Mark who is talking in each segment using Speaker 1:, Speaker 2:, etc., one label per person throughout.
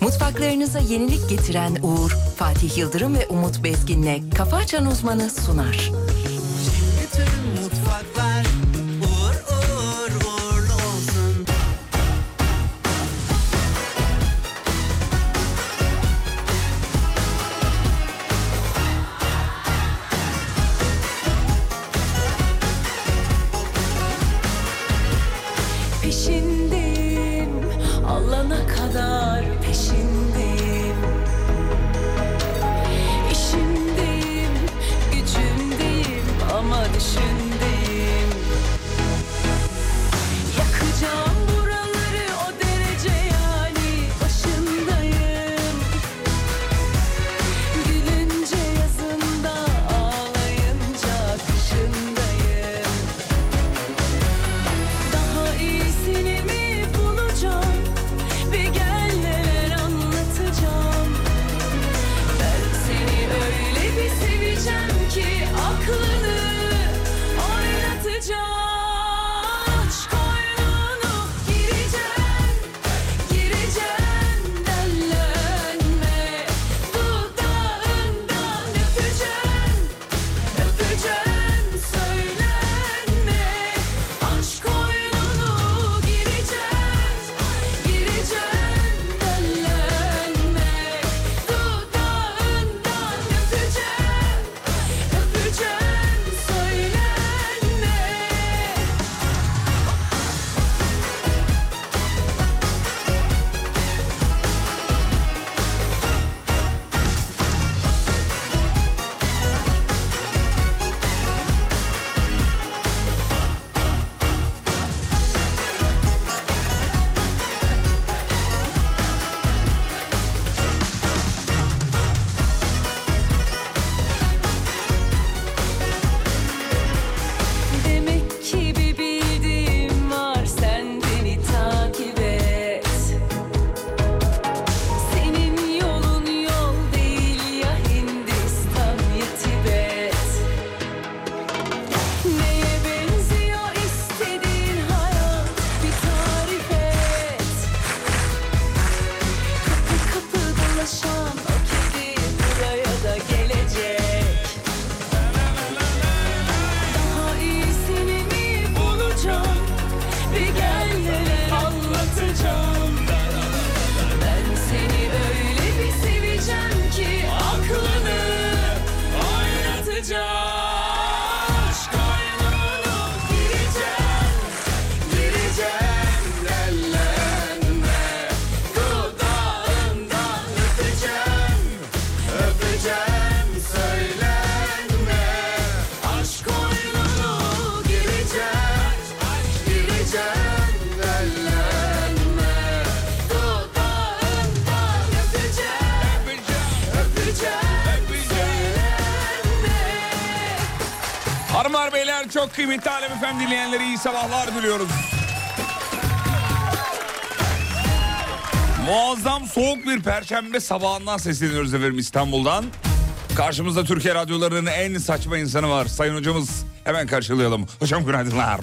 Speaker 1: Mutfaklarınıza yenilik getiren Uğur, Fatih Yıldırım ve Umut Bezgin'le Kafa Açan Uzmanı sunar.
Speaker 2: Bütün mutfaklar uğur uğur uğurlu olsun.
Speaker 3: peşindim Alana kadar peşindim İşimdeyim, gücümdeyim ama düşündüm Yakacağım buraları o derece yani başındayım Gülünce yazında ağlayınca kışındayım daha iyisini mi bulacağım? Bir gel neler anlatacağım. Ben seni öyle bir seveceğim ki aklını oynatacağım. Aç koynunu gireceğim, gireceğim dellenme. Dudağından öpeceğim, Öpeceğim söylenme Aşk oyununu gireceğiz Gireceğim dellenme Dudağından öpeceğim Öpeceğim söylenme Demek ki bir bildiğim var sen beni takip et Senin yolun yol değil ya Hindistan ya Tibet Neye benziyor istediğin hayat bir tarif et Kapı kapı dolaşan o kedi buraya da gelecek daha iyisini mi bulacağım? Bir gel neler anlatacağım. Ben seni öyle bir seveceğim ki aklını oynatacağım. Aşk oyununu gireceğim, gireceğim dellenme. Dudağından öpeceğim, öpeceğim söylenme. Aşk oyununu gireceğim Gireceğim ellenme Dudağından öpeceğim Öpeceğim Söylenme
Speaker 4: Harmar Beyler çok kıymetli Alem Efem dinleyenleri iyi sabahlar diliyoruz. Muazzam soğuk bir perşembe sabahından sesleniyoruz efendim İstanbul'dan. Karşımızda Türkiye radyolarının en saçma insanı var. Sayın hocamız hemen karşılayalım. Hocam günaydınlar.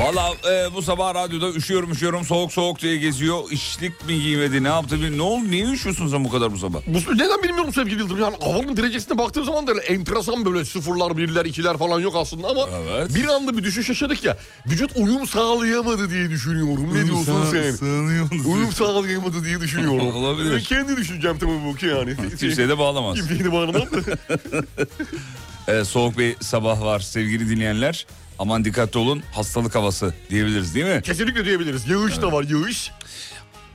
Speaker 4: Valla e, bu sabah radyoda üşüyorum üşüyorum soğuk soğuk diye geziyor. İşlik mi giymedi ne yaptı bilmiyorum. Ne oldu niye üşüyorsun sen bu kadar bu sabah?
Speaker 5: Bu neden bilmiyorum sevgili Yıldırım. Yani havanın derecesine baktığım zaman da öyle enteresan böyle sıfırlar, birler, ikiler falan yok aslında ama
Speaker 4: Evet.
Speaker 5: bir anda bir düşüş yaşadık ya. Vücut uyum sağlayamadı diye düşünüyorum. Ne diyorsun sen? Uyum sağlayamadı diye düşünüyorum.
Speaker 4: Olabilir.
Speaker 5: Ben kendi düşüncem tabii bu ki yani.
Speaker 4: Kimseye de bağlamaz.
Speaker 5: Kimseyi de bağlamam da.
Speaker 4: Ee, soğuk bir sabah var sevgili dinleyenler. Aman dikkatli olun hastalık havası diyebiliriz değil mi?
Speaker 5: Kesinlikle diyebiliriz. Yağış da var yağış.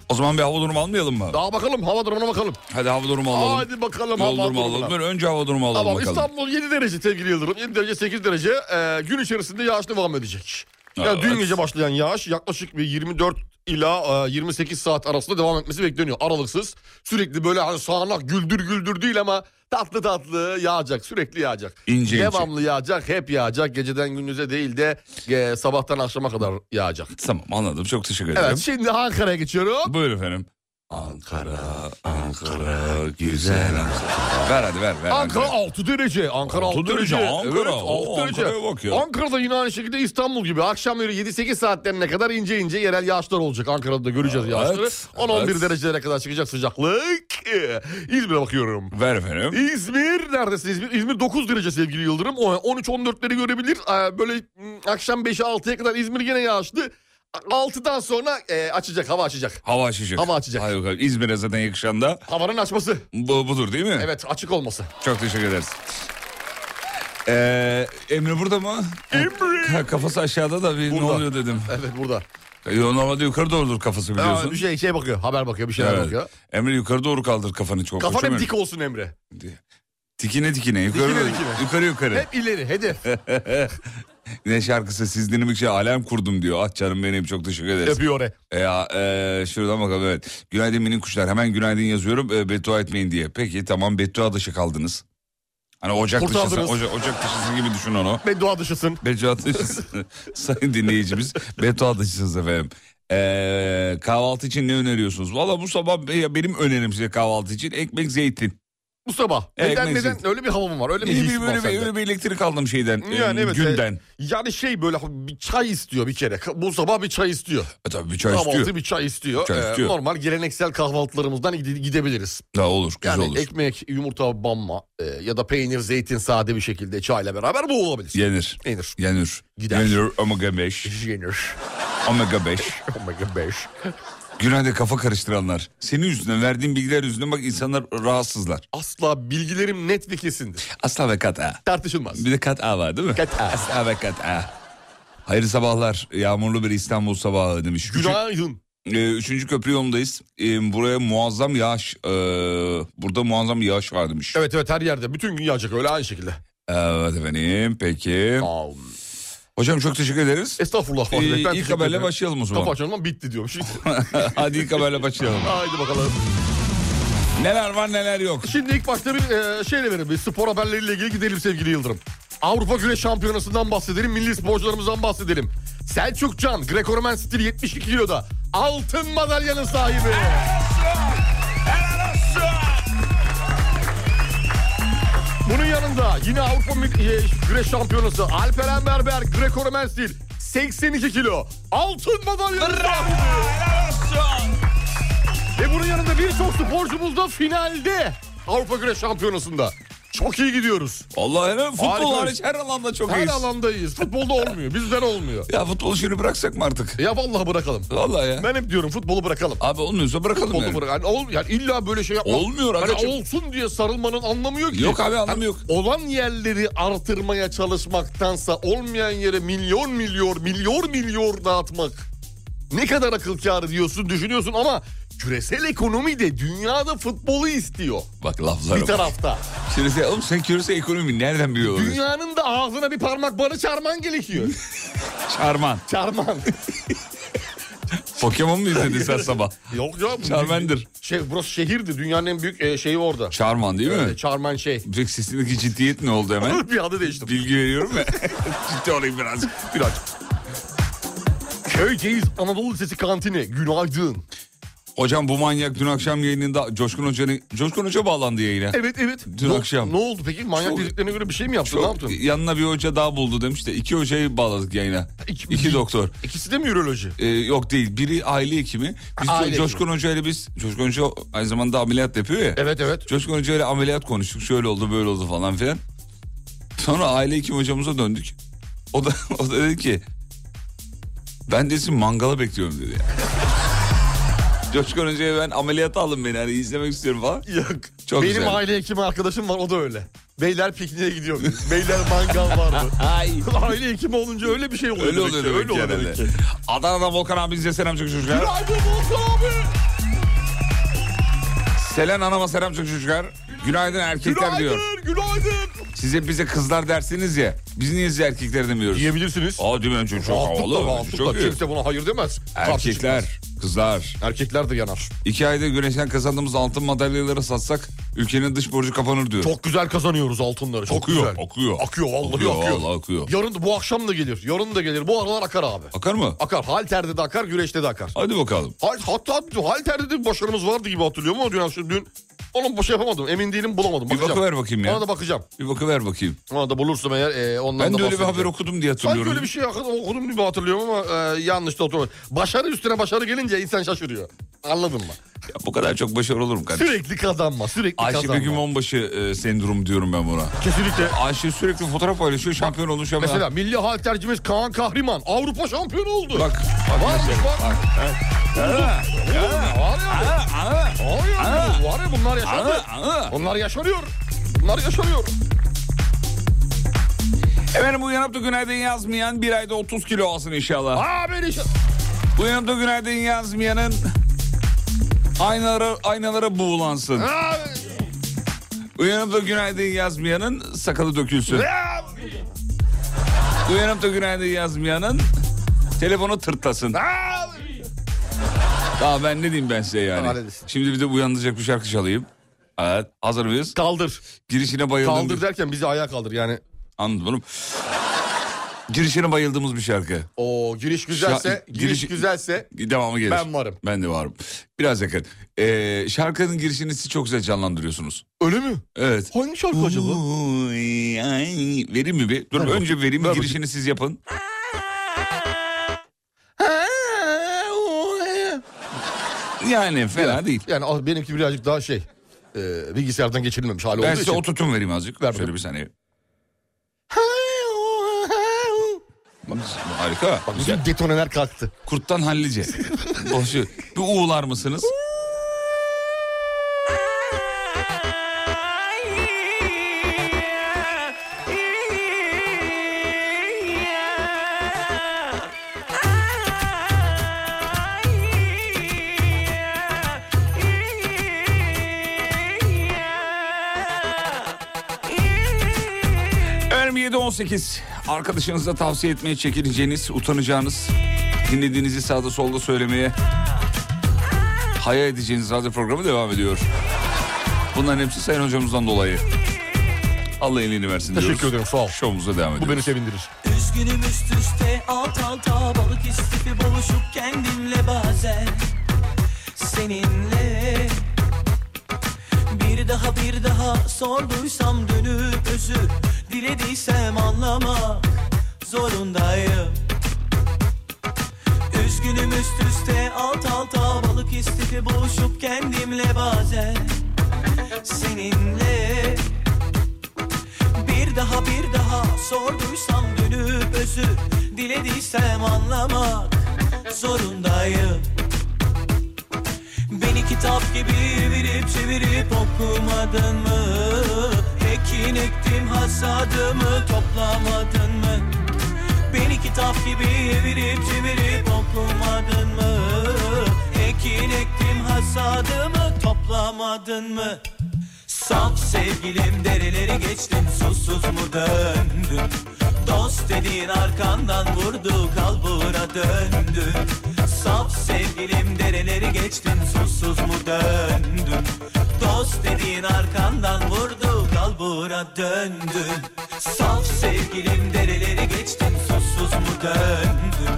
Speaker 4: O zaman bir hava durumu almayalım mı?
Speaker 5: Daha bakalım hava durumuna bakalım.
Speaker 4: Hadi hava durumu alalım.
Speaker 5: Hadi bakalım
Speaker 4: Yol
Speaker 5: hava
Speaker 4: durumu
Speaker 5: durumuna.
Speaker 4: alalım. Dur, önce hava durumu alalım
Speaker 5: Tamam
Speaker 4: bakalım.
Speaker 5: İstanbul 7 derece sevgili Yıldırım. 7 derece 8 derece Ee, gün içerisinde yağış devam edecek. Yani
Speaker 4: Evet.
Speaker 5: dün gece başlayan yağış yaklaşık bir 24 ila e, 28 saat arasında devam etmesi bekleniyor. Aralıksız sürekli böyle hani sağanak güldür güldür değil ama tatlı tatlı yağacak sürekli yağacak.
Speaker 4: İnce ince.
Speaker 5: Devamlı yağacak hep yağacak geceden gündüze değil de e, sabahtan akşama kadar yağacak.
Speaker 4: Tamam anladım çok teşekkür ederim.
Speaker 5: Evet şimdi Ankara'ya geçiyorum.
Speaker 4: Buyur efendim. Ankara, Ankara, güzel Ankara. Ver hadi ver. ver
Speaker 5: Ankara 6 derece. Ankara 6,
Speaker 4: Altı
Speaker 5: derece.
Speaker 4: derece, Ankara.
Speaker 5: Evet,
Speaker 4: Oo,
Speaker 5: altı derece.
Speaker 4: Ankara'ya bak ya.
Speaker 5: Ankara'da yine aynı şekilde İstanbul gibi. Akşamları 7-8 saatlerine kadar ince ince yerel yağışlar olacak. Ankara'da da göreceğiz
Speaker 4: Evet,
Speaker 5: yağışları. 10-11
Speaker 4: evet.
Speaker 5: derecelere kadar çıkacak sıcaklık. Ee, İzmir'e bakıyorum.
Speaker 4: Ver efendim.
Speaker 5: İzmir neredesin İzmir? İzmir 9 derece sevgili Yıldırım. O 13-14'leri görebilir. Ee, Böyle mm, akşam 5'e 6'ya kadar İzmir gene yağışlı. 6'dan sonra e, açacak, hava açacak.
Speaker 4: Hava açacak.
Speaker 5: Hava açacak.
Speaker 4: Hayır, bakalım. İzmir'e zaten yakışan da
Speaker 5: Havanın açması.
Speaker 4: bu, budur değil mi?
Speaker 5: Evet, açık olması.
Speaker 4: Çok teşekkür ederiz. Ee, Emre burada mı? Emre. Kafası aşağıda da bir
Speaker 5: Burada.
Speaker 4: ne oluyor dedim.
Speaker 5: Evet, burada.
Speaker 4: Yo, Normalde yukarı doğrudur kafası biliyorsun.
Speaker 5: Aa, bir şey şey bakıyor, haber bakıyor, bir şeyler
Speaker 4: Evet.
Speaker 5: bakıyor.
Speaker 4: Emre yukarı doğru kaldır kafanı çok.
Speaker 5: Kafan hep
Speaker 4: Uçamıyorum.
Speaker 5: dik olsun Emre.
Speaker 4: Dikine dikine. Yukarı
Speaker 5: Dikine
Speaker 4: doğru-
Speaker 5: dikine.
Speaker 4: yukarı. yukarı.
Speaker 5: Hep ileri, hedef.
Speaker 4: Ne şarkısı siz dinlemekçe alem kurdum diyor. Ah canım benim çok teşekkür ederiz.
Speaker 5: Yapıyor oraya.
Speaker 4: Ya, e, şuradan bakalım evet. Günaydın minik kuşlar. Hemen günaydın yazıyorum e, beddua etmeyin diye. Peki tamam beddua dışı kaldınız. Hani ocak dışısı,
Speaker 5: Kurtardınız.
Speaker 4: oca- ocak dışısı gibi düşün onu.
Speaker 5: Beddua dışısın.
Speaker 4: Beddua dışısı sayın dinleyicimiz. Beddua dışısınız efendim. E, kahvaltı için ne öneriyorsunuz? Valla bu sabah be- benim önerim size kahvaltı için ekmek zeytin.
Speaker 5: Bu sabah.
Speaker 4: Evet,
Speaker 5: neden
Speaker 4: neyse.
Speaker 5: neden öyle bir havam var, öyle bir
Speaker 4: Bir, bir,
Speaker 5: his var
Speaker 4: böyle, bir,
Speaker 5: sende.
Speaker 4: böyle bir elektrik aldım şeyden, e,
Speaker 5: Yani evet,
Speaker 4: günden.
Speaker 5: e, Yani şey böyle bir çay istiyor bir kere. Bu sabah bir çay istiyor.
Speaker 4: E, tabii bir çay
Speaker 5: Kahvaltı
Speaker 4: istiyor.
Speaker 5: bir çay istiyor.
Speaker 4: Çay
Speaker 5: Ee,
Speaker 4: istiyor.
Speaker 5: normal geleneksel kahvaltılarımızdan gide- gidebiliriz.
Speaker 4: Daha olur, güzel
Speaker 5: Yani
Speaker 4: olur.
Speaker 5: ekmek, yumurta, banma e, ya da peynir, zeytin sade bir şekilde çayla beraber bu olabilir.
Speaker 4: Yenir.
Speaker 5: Yenir.
Speaker 4: Yenir.
Speaker 5: Gider.
Speaker 4: Yenir omega 5.
Speaker 5: Yenir.
Speaker 4: Omega 5.
Speaker 5: Omega 5.
Speaker 4: Günaydın kafa karıştıranlar. Senin yüzünden verdiğin bilgiler yüzünden bak insanlar rahatsızlar.
Speaker 5: Asla bilgilerim net ve kesindir.
Speaker 4: Asla ve kat'a.
Speaker 5: Tartışılmaz.
Speaker 4: Bir de kat'a var değil mi?
Speaker 5: Kat'a.
Speaker 4: Asla ve kat'a. Hayırlı sabahlar. Yağmurlu bir İstanbul sabahı demiş. Üçü-
Speaker 5: Günaydın.
Speaker 4: e, üçüncü köprü yolundayız. E, buraya muazzam yağış. e, burada muazzam yağış var demiş.
Speaker 5: Evet evet her yerde. Bütün gün yağacak öyle aynı şekilde.
Speaker 4: Evet efendim peki.
Speaker 5: Aa,
Speaker 4: Hocam çok teşekkür ederiz.
Speaker 5: Estağfurullah. Fatih Bey,
Speaker 4: E,
Speaker 5: ben
Speaker 4: ilk
Speaker 5: teşekkür
Speaker 4: haberle
Speaker 5: ederim.
Speaker 4: başlayalım o
Speaker 5: Kafa
Speaker 4: zaman.
Speaker 5: açalım bitti diyormuş.
Speaker 4: Hadi ilk haberle başlayalım.
Speaker 5: Haydi bakalım.
Speaker 4: Neler var neler yok.
Speaker 5: Şimdi ilk başta bir e, şeyle verelim. Bir spor haberleriyle ilgili gidelim sevgili Yıldırım. Avrupa Güreş Şampiyonası'ndan bahsedelim. Milli sporcularımızdan bahsedelim. Selçuk Can, Greco-Roman stili 72 kiloda. Altın madalyanın sahibi. Bunun yanında yine Avrupa Mil- e, Güreş Şampiyonası Alperen Berber, Greco-Roman stil 82 kilo. Altın madalyanın sahibi. Ve bunun yanında birçok sporcumuz da finalde Avrupa Güreş Şampiyonası'nda. Çok iyi gidiyoruz.
Speaker 4: Vallahi helal. Futbol
Speaker 5: Harika.
Speaker 4: hariç her alanda çok
Speaker 5: Her
Speaker 4: iyiyiz.
Speaker 5: alandayız. Futbolda olmuyor. Bizden olmuyor.
Speaker 4: Ya futbol işini bıraksak mı artık?
Speaker 5: Ya vallahi bırakalım.
Speaker 4: Vallahi ya.
Speaker 5: Ben hep diyorum futbolu bırakalım.
Speaker 4: Abi olmuyorsa bırakalım
Speaker 5: Futbolu
Speaker 4: yani.
Speaker 5: bırak. Yani, ol, yani illa böyle şey yapmak.
Speaker 4: Olmuyor
Speaker 5: Hani
Speaker 4: abi.
Speaker 5: olsun diye sarılmanın anlamı yok ki.
Speaker 4: Yok abi, anlamı yok.
Speaker 5: Olan yerleri artırmaya çalışmaktansa olmayan yere milyon milyon milyon milyon dağıtmak. Ne kadar akıl kârı diyorsun düşünüyorsun ama küresel ekonomi de dünyada futbolu istiyor.
Speaker 4: Bak
Speaker 5: Bir
Speaker 4: laflara bak.
Speaker 5: tarafta.
Speaker 4: Şimdi sen, oğlum sen körüse ekonomi nereden biliyor olabilirsin?
Speaker 5: Dünyanın da ağzına bir parmak barı çarman gerekiyor.
Speaker 4: Çarman.
Speaker 5: çarman.
Speaker 4: Pokemon mu izledin sen sabah?
Speaker 5: Yok ya. bu-
Speaker 4: Charmander.
Speaker 5: Şey, burası şehirdi. Dünyanın en büyük e, şeyi orada.
Speaker 4: Çarman değil mi?
Speaker 5: Evet, Çarman şey.
Speaker 4: Peki sesindeki ciddiyet ne oldu hemen?
Speaker 5: bir adı değişti.
Speaker 4: Bilgi veriyorum ya. Ciddi olayım birazcık.
Speaker 5: Biraz. Köyceğiz Anadolu Lisesi kantini. Günaydın.
Speaker 4: Hocam bu manyak dün akşam yayınında Coşkun Hoca'nın... Coşkun Hoca bağlandı yayına.
Speaker 5: Evet evet.
Speaker 4: Dün
Speaker 5: ne,
Speaker 4: akşam.
Speaker 5: Ne oldu peki? Manyak
Speaker 4: Çok-
Speaker 5: dediklerine göre bir şey mi yaptın? Ne
Speaker 4: Çok,
Speaker 5: yaptın?
Speaker 4: yanına bir hoca daha buldu demiş de iki hocayı bağladık yayına.
Speaker 5: İki-
Speaker 4: iki doktor.
Speaker 5: İkisi de mi üroloji?
Speaker 4: Ee, yok değil. Biri aile hekimi. Biz
Speaker 5: Aile hekimi.
Speaker 4: Coşkun Hoca ile biz Coşkun Hoca aynı zamanda ameliyat yapıyor ya.
Speaker 5: Evet evet.
Speaker 4: Coşkun Hoca ile ameliyat konuştuk. Şöyle oldu, böyle oldu falan filan. Sonra aile hekimi hocamıza döndük. O da o da dedi ki ben desin mangala bekliyorum dedi. Coşkun Hoca'ya ben ameliyata alın beni hani izlemek istiyorum falan.
Speaker 5: Yok.
Speaker 4: Çok
Speaker 5: Benim
Speaker 4: güzel.
Speaker 5: aile hekimi arkadaşım var o da öyle. Beyler pikniğe gidiyor. Beyler mangal vardı. aile hekimi olunca öyle bir şey oluyor.
Speaker 4: Öyle
Speaker 5: demek
Speaker 4: oluyor
Speaker 5: ki,
Speaker 4: demek ki
Speaker 5: öyle oluyor
Speaker 4: herhalde.
Speaker 5: demek ki.
Speaker 4: Adana'dan Volkan abi bize selam çok çocuklar.
Speaker 5: Günaydın Volkan abi.
Speaker 4: Selen Hanım'a selam çok çocuklar. Günaydın erkekler diyor.
Speaker 5: Günaydın, günaydın.
Speaker 4: Size bize kızlar dersiniz ya. Biz niye size erkekler demiyoruz?
Speaker 5: Diyebilirsiniz.
Speaker 4: Aa değil mi? Çok, çok
Speaker 5: Rahatlıkla,
Speaker 4: havalı. Çok
Speaker 5: rahatlıkla.
Speaker 4: iyi.
Speaker 5: Kimse buna hayır demez. Karşı çıkmaz.
Speaker 4: Erkekler, kızlar.
Speaker 5: Erkekler de yanar.
Speaker 4: İki ayda güneşten kazandığımız altın madalyaları satsak Ülkenin dış borcu kapanır diyor.
Speaker 5: Çok güzel kazanıyoruz altınları. Çok
Speaker 4: Akıyor,
Speaker 5: güzel.
Speaker 4: akıyor.
Speaker 5: Akıyor vallahi
Speaker 4: Akıyor,
Speaker 5: akıyor.
Speaker 4: vallahi akıyor.
Speaker 5: Yarın da- bu akşam da gelir. Yarın da gelir. Bu aralar akar abi.
Speaker 4: Akar mı?
Speaker 5: Akar. Halter'de de akar, güreşte de akar.
Speaker 4: Hadi bakalım.
Speaker 5: Hal, hatta halterde de başarımız vardı gibi hatırlıyorum ama dün, şu- dün onun boş yapamadım. Emin değilim bulamadım.
Speaker 4: Bir bakıver bakayım ya.
Speaker 5: Ona da bakacağım.
Speaker 4: Bir bakıver bakayım.
Speaker 5: Ona da bulursam eğer e, ondan
Speaker 4: Ben
Speaker 5: da
Speaker 4: de öyle bir
Speaker 5: bahsedeceğim.
Speaker 4: haber okudum diye
Speaker 5: Sanki
Speaker 4: hatırlıyorum.
Speaker 5: öyle bir şey okudum, okudum gibi hatırlıyorum ama e, yanlış da hatırlıyorum. Başarı üstüne başarı gelince insan şaşırıyor. Anladın mı?
Speaker 4: Ya bu kadar çok başarılı olurum kardeşim.
Speaker 5: Sürekli kazanma, sürekli
Speaker 4: Ayşe
Speaker 5: kazanma.
Speaker 4: Begüm Onbaşı e, sendromu diyorum ben buna.
Speaker 5: Kesinlikle.
Speaker 4: Ayşe sürekli fotoğraf paylaşıyor şampiyon olmuş ama.
Speaker 5: Mesela milli haltercimiz Kaan Kahriman Avrupa şampiyonu oldu.
Speaker 4: Bak.
Speaker 5: Varmış bak. Var ya. Var ya. Var ya bunlar yaşanıyor. Bunlar yaşanıyor. Bunlar yaşanıyor.
Speaker 4: Efendim uyanıp da günaydın yazmayan bir ayda 30 kilo alsın inşallah.
Speaker 5: Aa böyle yaşa-
Speaker 4: Uyanıp da günaydın yazmayanın aynalara, aynalara buğulansın.
Speaker 5: Aa,
Speaker 4: Uyanıp da günaydın yazmayanın sakalı dökülsün.
Speaker 5: aa,
Speaker 4: Uyanıp da günaydın yazmayanın telefonu tırtlasın.
Speaker 5: aa.
Speaker 4: Daha ben ne diyeyim ben size yani.
Speaker 5: Halledin.
Speaker 4: Şimdi bir de uyandıracak bir şarkı çalayım. Evet, hazır mıyız?
Speaker 5: Kaldır.
Speaker 4: Girişine bayıldığımız...
Speaker 5: Kaldır derken bizi ayağa kaldır yani.
Speaker 4: Anladım oğlum. Girişine bayıldığımız bir şarkı.
Speaker 5: O giriş güzelse,
Speaker 4: Şa-
Speaker 5: giriş
Speaker 4: giriş-
Speaker 5: güzelse
Speaker 4: Devamı gelir.
Speaker 5: Ben varım.
Speaker 4: Ben de varım. Biraz yakın. Ee, şarkının girişini siz çok güzel canlandırıyorsunuz.
Speaker 5: Ölü mü?
Speaker 4: Evet.
Speaker 5: Hangi şarkı acaba?
Speaker 4: Uy, ay. Vereyim mi bir? Dur önce vereyim
Speaker 5: Ver
Speaker 4: girişini siz yapın. Yani fena değil.
Speaker 5: Yani al- benimki birazcık daha şey. e, bilgisayardan geçirilmemiş hali
Speaker 4: Ben
Speaker 5: olduğu
Speaker 4: size
Speaker 5: için.
Speaker 4: oturtum vereyim azıcık.
Speaker 5: Ver
Speaker 4: Şöyle
Speaker 5: bakalım.
Speaker 4: bir saniye. Bak, Harika. Bak,
Speaker 5: Bütün detoneler kalktı.
Speaker 4: Kurttan hallice. Boşu. Bir uğular mısınız? Efendim 7-18 arkadaşınıza tavsiye etmeye çekineceğiniz, utanacağınız, dinlediğinizi sağda solda söylemeye hayal edeceğiniz radyo programı devam ediyor. Bunların hepsi Sayın Hocamızdan dolayı. Allah iyiliğini versin diyoruz.
Speaker 5: Teşekkür ederim, sağ ol.
Speaker 4: Şovumuza devam
Speaker 5: Bu beni
Speaker 4: ediyoruz.
Speaker 5: sevindirir.
Speaker 6: Üzgünüm üst üste alt alta balık istifi boğuşup kendimle bazen seninle Bir daha bir daha sorduysam dönüp özür dilediysem anlamak zorundayım Üzgünüm üst üste alt alta balık istifi boğuşup kendimle bazen seninle bir daha bir daha sorduysam dönüp özür dilediysem anlamak zorundayım Beni kitap gibi verip çevirip okumadın mı? Ekin ektim hasadımı toplamadın mı? Beni kitap gibi verip çevirip okumadın mı? Ekin ektim hasadımı toplamadın mı? Saf sevgilim dereleri geçtim susuz mu döndün? Dost dediğin arkandan vurdu kalbura döndün Saf sevgilim dereleri geçtin susuz mu döndün Dost dediğin arkandan vurdu kalbura döndün Saf sevgilim dereleri geçtin susuz mu döndün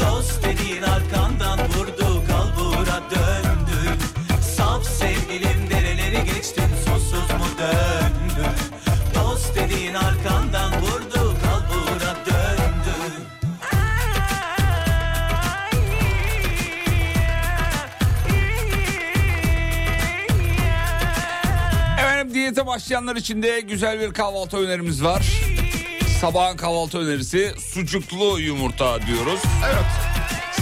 Speaker 6: Dost dediğin arkandan vurdu kalbura döndün Saf sevgilim dereleri geçtin susuz mu döndün Dost dediğin arkandan vurdu kalbura döndün
Speaker 4: Efendim diyete başlayanlar için de güzel bir kahvaltı önerimiz var. Sabahın kahvaltı önerisi sucuklu yumurta diyoruz.
Speaker 5: Evet.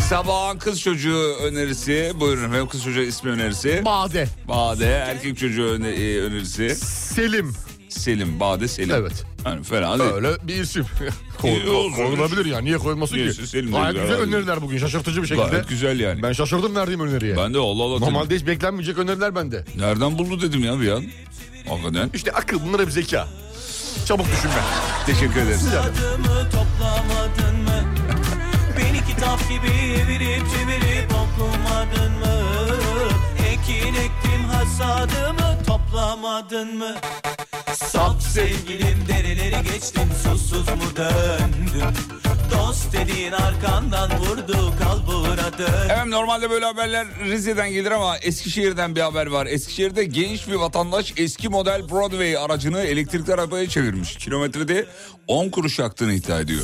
Speaker 4: Sabahın kız çocuğu önerisi buyurun efendim kız çocuğu ismi önerisi.
Speaker 5: Bade.
Speaker 4: Bade erkek çocuğu öne- e, önerisi
Speaker 5: Selim.
Speaker 4: Selim Bade Selim.
Speaker 5: Evet.
Speaker 4: Yani fena değil.
Speaker 5: Öyle bir isim.
Speaker 4: İyi olsun.
Speaker 5: Kork- Korkulabilir ya. Niye koyulmasın
Speaker 4: Niye?
Speaker 5: ki?
Speaker 4: Selim de
Speaker 5: Gayet
Speaker 4: güzel
Speaker 5: güzel
Speaker 4: abi.
Speaker 5: öneriler bugün. Şaşırtıcı bir şekilde.
Speaker 4: Gayet güzel yani. Ben,
Speaker 5: Ben şaşırdım verdiğim öneriye.
Speaker 4: de Allah Allah. dedim.
Speaker 5: Normalde hiç beklenmeyecek öneriler bende.
Speaker 4: Nereden buldu dedim ya bir an. Hakikaten.
Speaker 5: İşte akıl bunlar hep zeka. Çabuk düşünme.
Speaker 4: Teşekkür ederiz.
Speaker 6: Adımı toplamadın mı? Beni kitap gibi verip çevirip okumadın mı? Ekin ektim hasadımı topla
Speaker 7: Hesaplamadın mı? Saf sevgilim dereleri geçtim susuz mu döndüm Dost dediğin arkandan vurdu kalbura dön
Speaker 4: Evet normalde böyle haberler Rize'den gelir ama Eskişehir'den bir haber var. Eskişehir'de genç bir vatandaş eski model Broadway aracını elektrikli arabaya çevirmiş. Kilometrede 10 kuruş yaktığını iddia ediyor.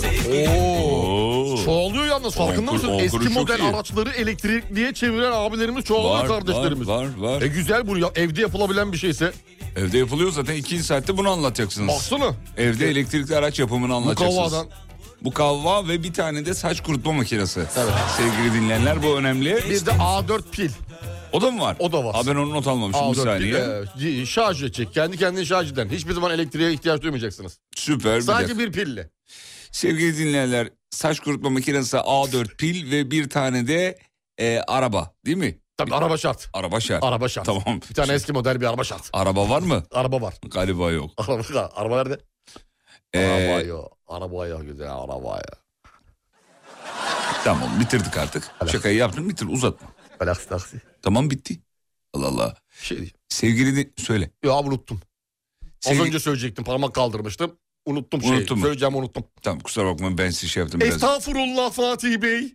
Speaker 4: Oo.
Speaker 5: Çoğalıyor yalnız farkında
Speaker 4: kur-
Speaker 5: mısın?
Speaker 4: on
Speaker 5: Eski
Speaker 4: kuruş çok
Speaker 5: model
Speaker 4: iyi.
Speaker 5: araçları elektrikliye çeviren abilerimiz çoğalıyor
Speaker 4: Var,
Speaker 5: kardeşlerimiz.
Speaker 4: var, var, var.
Speaker 5: E güzel bu ya evde yapılabilen bir şeyse.
Speaker 4: Evde yapılıyor zaten 2 saatte bunu anlatacaksınız.
Speaker 5: Baksana.
Speaker 4: Evde elektrikli araç yapımını
Speaker 5: Bu
Speaker 4: anlatacaksınız.
Speaker 5: kavadan.
Speaker 4: Bu kavva ve bir tane de saç kurutma makinesi. Sevgili dinleyenler bu önemli.
Speaker 5: Bir de A4 pil.
Speaker 4: O da mı var?
Speaker 5: O da var.
Speaker 4: Aa, ben onu not almamışım bir
Speaker 5: A4 pil.
Speaker 4: saniye.
Speaker 5: e, şarj edecek. Kendi kendini şarj eden. Hiçbir zaman elektriğe ihtiyaç duymayacaksınız.
Speaker 4: Süper. bir dakika.
Speaker 5: Sadece bir pille.
Speaker 4: Sevgili dinleyenler saç kurutma makinesi A4 pil ve bir tane de e, araba değil mi?
Speaker 5: Tabii araba şart.
Speaker 4: Araba şart.
Speaker 5: Araba şart.
Speaker 4: Tamam.
Speaker 5: Bir tane eski model bir araba şart.
Speaker 4: Araba var mı?
Speaker 5: Araba var.
Speaker 4: Galiba yok.
Speaker 5: Araba, araba nerede?
Speaker 4: Ee,
Speaker 5: Araba yok. Araba yok güzel araba ya.
Speaker 4: Tamam bitirdik artık. Şakayı yaptım bitir uzatma.
Speaker 5: Relax taksi.
Speaker 4: Tamam bitti. Allah Allah.
Speaker 5: Şey diyeceğim.
Speaker 4: Sevgili din- söyle.
Speaker 5: Ya unuttum. Az
Speaker 4: Sevgi-
Speaker 5: önce söyleyecektim parmak kaldırmıştım. Unuttum şeyi.
Speaker 4: Unuttun mu?
Speaker 5: Söyleyeceğimi unuttum.
Speaker 4: Tamam kusura bakma ben size şey yaptım biraz.
Speaker 5: Estağfurullah Fatih Bey.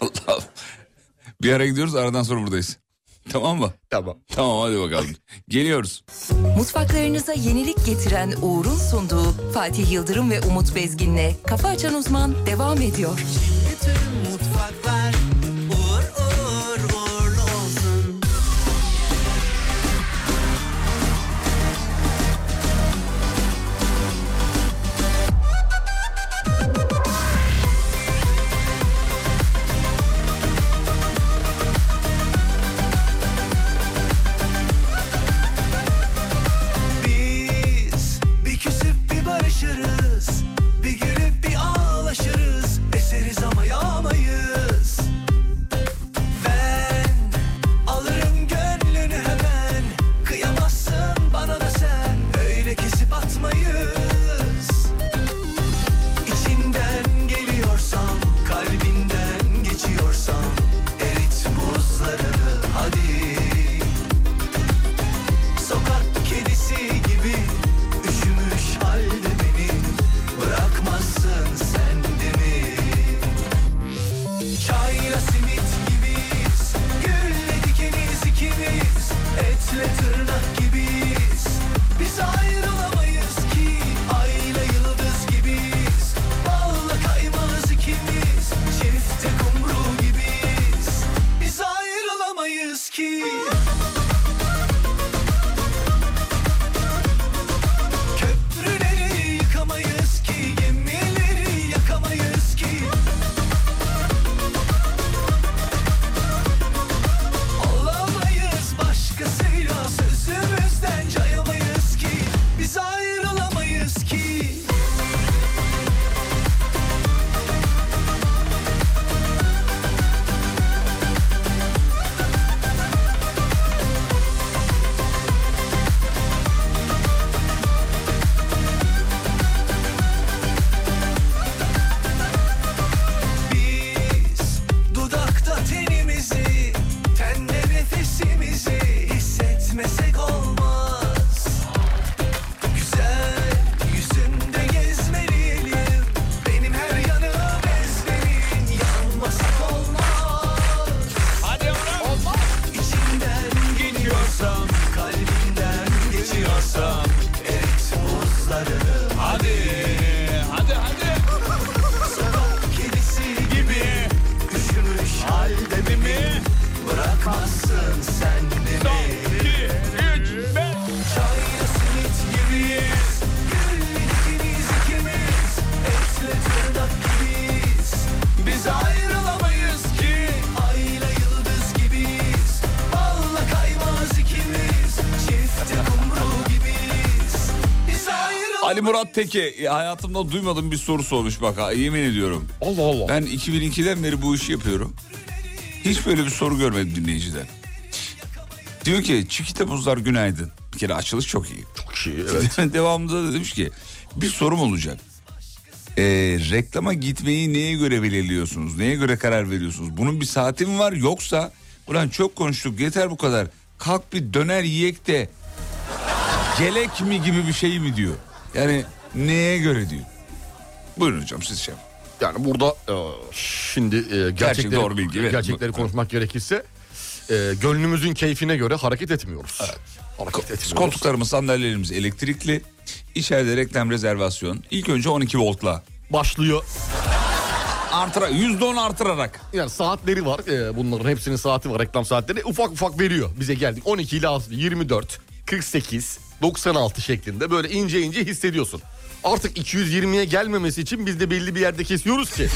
Speaker 4: Allah'ım. Bir ara gidiyoruz aradan sonra buradayız. Tamam mı?
Speaker 5: Tamam.
Speaker 4: Tamam hadi bakalım. Geliyoruz.
Speaker 1: Mutfaklarınıza yenilik getiren Uğur'un sunduğu Fatih Yıldırım ve Umut Bezgin'le Kafa Açan Uzman devam ediyor.
Speaker 8: Bütün mutfaklar uğur uğur uğurlu olsun.
Speaker 7: Biz bir küsüp bir barışırız Bir gülüp bir ağlaşırız Eseriz ama yağmayız Ben alırım gönlünü hemen Kıyamazsın bana da sen Öyle kesip atmayız İçinden geliyorsam Kalbinden geçiyorsam Erit buzlarını hadi Sokak kedisi gibi üşümüş halde beni bırakmazsın sen de mi? Çayla simit gibiyiz, gülle dikeniz ikimiz, etle tırnak gibiyiz. Biz ayrılamayız ki ayla yıldız gibiyiz, balla kaymağız ikimiz, çifte kumru gibiyiz. Biz ayrılamayız ki. Köprüleri yıkamayız ki gemileri yakamayız ki Olamayız başkasıyla sözümüzden cayamayız ki Biz ayrılamayız ki Biz dudakta tenimizi, tende nefesimizi hissetmesek olmaz. Güzel yüzünde gezmeliyim, benim her yanım ezberim, yanmasak olmaz. Hadi olmaz. İçinden geliyorsam, kalbimden geçiyorsam, erit buzlarını. Hadi, hadi, hadi. Sokak kedisi gibi Üşümüş halde mi? Bırakmazsın sen de mi? Çayla simit gibiyiz Güllükimiz ikimiz Etle tırnak gibiyiz Biz ayrılamayız ki Ayla yıldız gibiyiz Balla kaymaz ikimiz Çifte kumru gibiyiz Biz ayrılamayız
Speaker 4: Ali Murat Teke hayatımda duymadığım bir soru sormuş bak ha, yemin ediyorum.
Speaker 5: Allah Allah.
Speaker 4: Ben 2002'den beri bu işi yapıyorum. Hiç böyle bir soru görmedim dinleyiciden. Diyor ki Çikita Buzlar günaydın. Bir kere açılış çok iyi.
Speaker 5: Çok şey, evet.
Speaker 4: Devamında da demiş ki bir sorum olacak. Ee, reklama gitmeyi neye göre belirliyorsunuz? Neye göre karar veriyorsunuz? Bunun bir saati mi var yoksa Ulan çok konuştuk yeter bu kadar. Kalk bir döner yiyek de gelek mi gibi bir şey mi diyor. Yani neye göre diyor. Buyurun hocam siz şey yapın.
Speaker 5: Yani burada e, şimdi e, gerçekleri,
Speaker 4: Gerçek doğru bilgi, evet.
Speaker 5: gerçekleri konuşmak gerekirse e, gönlümüzün keyfine göre hareket etmiyoruz. Hareket etmiyoruz.
Speaker 4: Koltuklarımız sandalyelerimiz elektrikli. İçeride reklam rezervasyon. İlk önce 12 voltla.
Speaker 5: Başlıyor.
Speaker 4: Artıra, %10 artırarak.
Speaker 5: Yani saatleri var. e, bunların hepsinin saati var reklam saatleri. Ufak ufak veriyor. Bize geldik 12 ile 24, 48, 96 şeklinde böyle ince ince hissediyorsun. Artık 220'ye gelmemesi için biz de belli bir yerde kesiyoruz ki.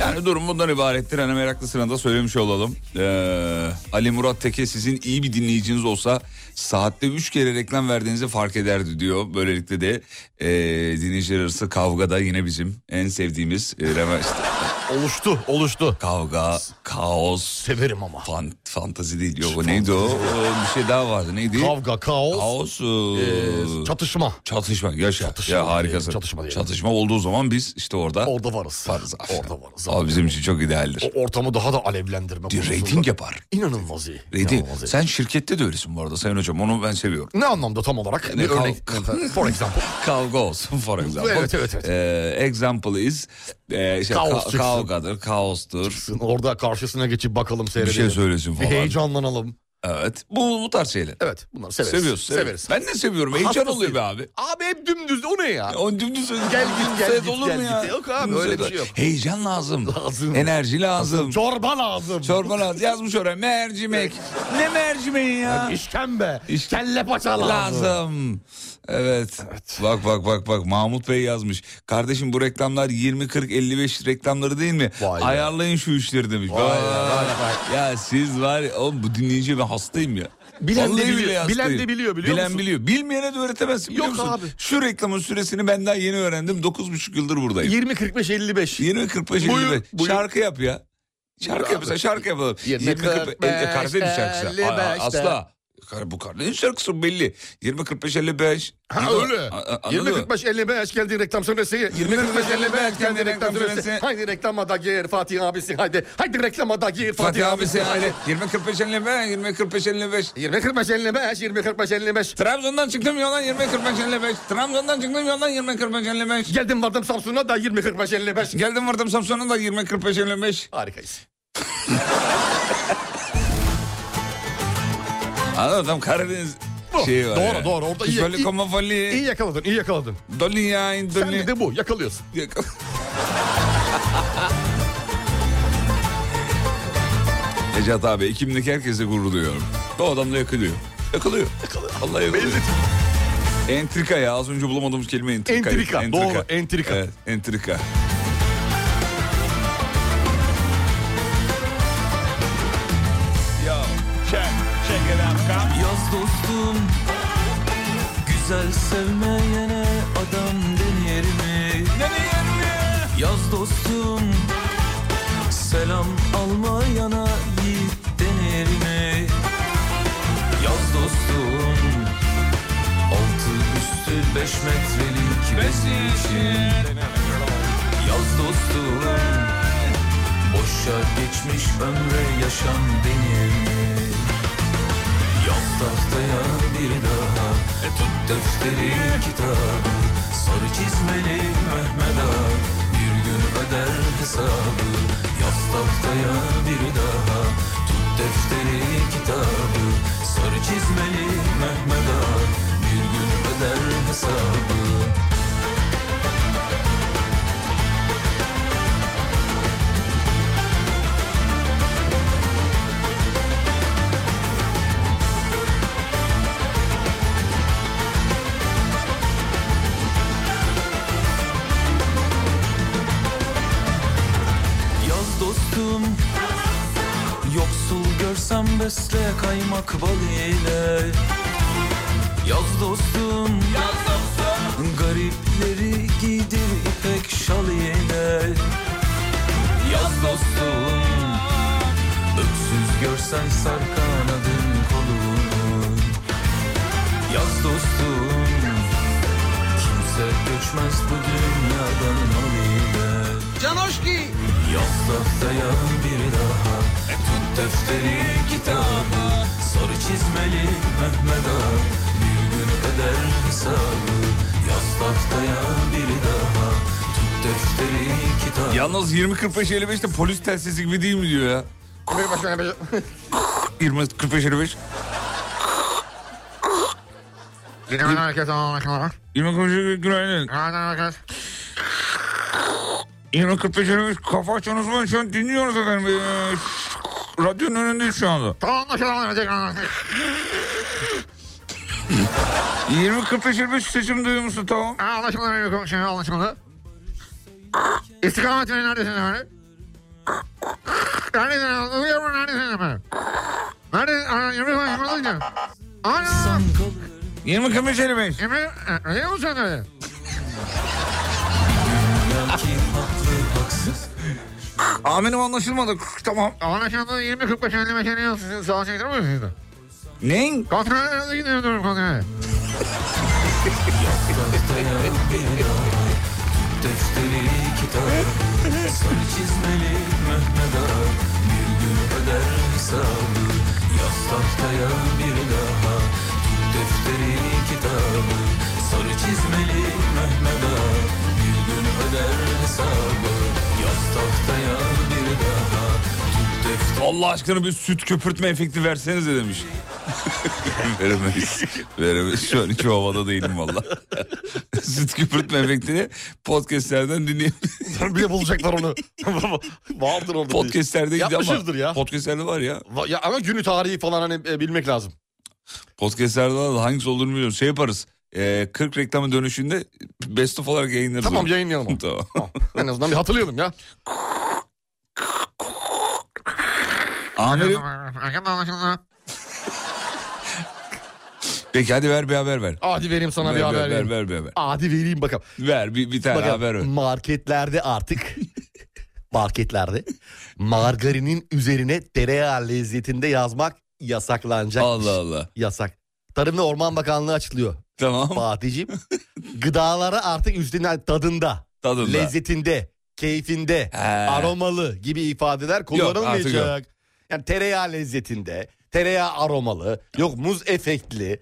Speaker 4: Yani durum bundan ibarettir. Hani meraklısına da söylemiş olalım. Ee, Ali Murat Teke sizin iyi bir dinleyiciniz olsa saatte 3 kere reklam verdiğinizi fark ederdi diyor. Böylelikle de e, dinleyiciler arası kavgada yine bizim en sevdiğimiz e, reva- işte
Speaker 5: Oluştu, oluştu.
Speaker 4: kavga, kaos,
Speaker 5: Severim ama.
Speaker 4: fan, fantazi değil. Yok o neydi o? Ee, bir şey daha vardı. Neydi?
Speaker 5: Kavga, kaos,
Speaker 4: Kaos. e,
Speaker 5: e, çatışma.
Speaker 4: çatışma. Yaşa.
Speaker 5: Çatışma
Speaker 4: ya harikasın.
Speaker 5: diyelim, çatışma diyelim.
Speaker 4: Çatışma olduğu zaman biz işte orada.
Speaker 5: Orada varız.
Speaker 4: varız.
Speaker 5: Orada varız.
Speaker 4: Abi bizim için çok idealdir.
Speaker 5: O ortamı daha da alevlendirme.
Speaker 4: Bir
Speaker 5: konusunda
Speaker 4: Rating yapar.
Speaker 5: İnanılmaz iyi.
Speaker 4: Reyting.
Speaker 5: inanılmaz iyi.
Speaker 4: Sen şirkette de öylesin bu arada Sayın Hocam. Onu ben seviyorum.
Speaker 5: Ne anlamda tam olarak?
Speaker 4: Ne
Speaker 5: bir
Speaker 4: kav-
Speaker 5: örnek. For example.
Speaker 4: Kavga olsun for example.
Speaker 5: Evet, evet, evet.
Speaker 4: Ee, example is e, işte
Speaker 5: Kaos
Speaker 4: ka-
Speaker 5: çıksın.
Speaker 4: kavgadır, kaostur.
Speaker 5: Orada karşısına geçip bakalım
Speaker 4: Bir
Speaker 5: seyredelim.
Speaker 4: şey söylesin
Speaker 5: Bir
Speaker 4: falan.
Speaker 5: heyecanlanalım.
Speaker 4: Evet. Bu, bu tarz şeyler.
Speaker 5: Evet bunları severiz.
Speaker 4: Seviyorsun. Severiz.
Speaker 5: Severiz.
Speaker 4: Ben de seviyorum. Heyecan
Speaker 5: Hastasıyım.
Speaker 4: oluyor be abi.
Speaker 5: Abi hep dümdüz o ne ya?
Speaker 4: O dümdüz gel
Speaker 5: git, gel git, gel git. Yok abi, öyle bir şey yok.
Speaker 4: Heyecan lazım.
Speaker 5: Lazım.
Speaker 4: Enerji lazım.
Speaker 5: Çorba lazım.
Speaker 4: Çorba lazım. Yazmış oraya mercimek. ne mercimeği ya?
Speaker 5: İşkembe.
Speaker 4: İş-
Speaker 5: Kelle paça lazım.
Speaker 4: lazım. Evet. Bak bak bak bak Mahmut Bey yazmış. Kardeşim bu reklamlar 20 40 55 reklamları değil mi?
Speaker 5: Vay be.
Speaker 4: Ayarlayın şu işleri demiş.
Speaker 5: Vay
Speaker 4: Vay
Speaker 5: be,
Speaker 4: ya.
Speaker 5: vay be.
Speaker 4: Ya siz var ya oğlum bu dinleyiciye ben hastayım ya.
Speaker 5: Bilen de
Speaker 4: Vallahi
Speaker 5: biliyor,
Speaker 4: billahi
Speaker 5: bilen de
Speaker 4: hastayım.
Speaker 5: biliyor, biliyor
Speaker 4: Bilen
Speaker 5: musun?
Speaker 4: biliyor. Bilmeyene de öğretemezsin biliyor
Speaker 5: Yok
Speaker 4: musun?
Speaker 5: abi.
Speaker 4: Şu reklamın süresini ben daha yeni öğrendim. 9,5 yıldır buradayım.
Speaker 5: 20 45 55.
Speaker 4: 20 45 55.
Speaker 5: Buyur, buyur.
Speaker 4: Şarkı yap ya. Şarkı yap mesela şarkı yapalım.
Speaker 5: 20,
Speaker 4: 20 45 50 Karadeniz
Speaker 5: 55,
Speaker 4: şarkısı. Aa, Asla. Kar- Bu Karadeniz şarkısı belli. 20 45 55.
Speaker 5: Ha
Speaker 4: Neydi o?
Speaker 5: öyle.
Speaker 4: A- a- anladın
Speaker 5: 20
Speaker 4: mı?
Speaker 5: 45 55 geldi reklam süresi. 20 45 55 geldi reklam süresi. Haydi reklama da gir Fatih abisi haydi. Haydi reklama da gir
Speaker 4: Fatih abi sen aile. 20 45 55 20 45 55.
Speaker 5: 20 45 55 20 45 55.
Speaker 4: Trabzon'dan çıktım yoldan 20 45 55. Trabzon'dan çıktım yoldan 20 45 55.
Speaker 5: Geldim vardım Samsun'a da 20 45 55.
Speaker 4: Geldim vardım Samsun'a da 20 45 55.
Speaker 5: Harikayız.
Speaker 4: Anladın mı? Tam Karadeniz
Speaker 5: Bu.
Speaker 4: şeyi var
Speaker 5: Oh, Doğru,
Speaker 4: yani.
Speaker 5: doğru. Orada iyi-
Speaker 4: Böyle
Speaker 5: iyi-
Speaker 4: koma
Speaker 5: İyi
Speaker 4: fali.
Speaker 5: yakaladın, iyi yakaladın.
Speaker 4: Doli ya.
Speaker 5: Sen
Speaker 4: Doli.
Speaker 5: bir de bu, yakalıyorsun.
Speaker 4: Necat abi ekimdeki herkese gurur duyuyorum. O adam da yakılıyor. Yakılıyor. Yakılıyor. Vallahi yakılıyor. Entrika ya az önce bulamadığımız kelime entrika.
Speaker 5: Entrika, doğru, entrika.
Speaker 4: Evet entrika.
Speaker 9: Yaz dostum Güzel sevmeyene adam denir mi? Yaz dostum Selam almayana yiğit denir mi? Yaz dostum Altı üstü beş metrelik bezi için Yaz dostum Boşa geçmiş ömre yaşam denir mi? Yaz tahtaya bir daha E tut defteri kitabı Sarı çizmeli Mehmet Ağa Bir gün öder hesabı Yaz tahtaya bir daha Tut defteri kitabı Sarı çizmeli Mehmet Ağa Bir gün öder hesabı Yaz dostum Yoksul görsem besle kaymak bal ile Yaz dostum Garipleri giydir ipek şal ile Yaz dostum Öksüz görsen sar kanadın kolunu Yaz dostum Kimse göçmez bu dünyadan al ile
Speaker 10: Uzaktayan biri daha E tut defteri kitabı Sarı çizmeli Mehmet Ağa Bir gün eder hesabı Yastaktayan biri daha Tut defteri kitabı
Speaker 4: Yalnız 20-45-55'te polis telsizi gibi değil mi diyor ya? 20-45-55
Speaker 11: Günaydın herkese.
Speaker 4: 20-45-55 günaydın.
Speaker 11: Günaydın herkese.
Speaker 4: 20-45-55 kafa açan uzman şu an dinliyoruz efendim. Ee, radyonun önündeyiz şu anda.
Speaker 11: Tamam anlaşılan.
Speaker 4: 20-45-55 seçim duyumusu tamam.
Speaker 11: Anlaşmalı bir konuşma anlaşmalı. şey, İstikamet yönü neredesiniz efendim? Neredesiniz efendim? Uyuyor neredesiniz efendim? Neredesiniz? Aa, Emre Bey, ne oluyor? Alo.
Speaker 4: 20-45-55.
Speaker 11: Emre, e, uyuyor musun öyle?
Speaker 4: Amenim anlaşılmadı. Tamam.
Speaker 11: Anlaşıldı 20.45 50 meşeni yok. Sizin sağa çekilir misiniz sizde?
Speaker 4: Neyin?
Speaker 11: Kontrollerinizde gidiyorum konuya.
Speaker 10: Defteri kitap Sarı çizmeli Mehmet Ağa Bir gün öder hesabı Yastaktayan bir daha Tut defteri kitabı Sarı çizmeli Mehmet Ağa Bir gün öder hesabı Yastaktayan bir daha Tut defteri
Speaker 4: Allah aşkına bir süt köpürtme efekti versenize demiş. Veremeyiz. Veremeyiz. Şu an hiç o havada değilim valla. süt köpürtme efektini podcastlerden dinleyebilirsiniz.
Speaker 5: Bir de bulacaklar onu. Vardır orada. bir-
Speaker 4: Podcastlerde gidiyor
Speaker 5: Yapmışızdır
Speaker 4: ama.
Speaker 5: ya.
Speaker 4: Podcastlerde var ya.
Speaker 5: Va- ya. Ama günü tarihi falan hani e, bilmek lazım.
Speaker 4: Podcastlerde var da hangisi olduğunu bilmiyorum. Şey yaparız. Ee, 40 reklamın dönüşünde best of olarak yayınlarız.
Speaker 5: Tamam
Speaker 4: onu.
Speaker 5: yayınlayalım. onu.
Speaker 4: Tamam.
Speaker 5: Tamam. En azından bir hatırlayalım ya.
Speaker 4: Amirim.
Speaker 11: Arkadaşlar anlaşıldı.
Speaker 4: Peki hadi ver bir haber ver.
Speaker 5: Hadi vereyim sana
Speaker 4: ver,
Speaker 5: bir haber
Speaker 4: ver,
Speaker 5: vereyim.
Speaker 4: ver, ver, ver, ver.
Speaker 5: Hadi vereyim bakalım.
Speaker 4: Ver bir, bir tane
Speaker 5: Bakın,
Speaker 4: haber ver.
Speaker 5: marketlerde artık marketlerde margarinin üzerine tereyağı lezzetinde yazmak yasaklanacak.
Speaker 4: Allah Allah.
Speaker 5: Yasak. Tarım ve Orman Bakanlığı açılıyor
Speaker 4: Tamam.
Speaker 5: Fatih'ciğim. Gıdalara artık üstünden tadında,
Speaker 4: Tadında.
Speaker 5: lezzetinde, keyfinde,
Speaker 4: He.
Speaker 5: aromalı gibi ifadeler kullanılmayacak.
Speaker 4: Yok, artık
Speaker 5: yani tereyağı lezzetinde, tereyağı aromalı, yok muz efektli,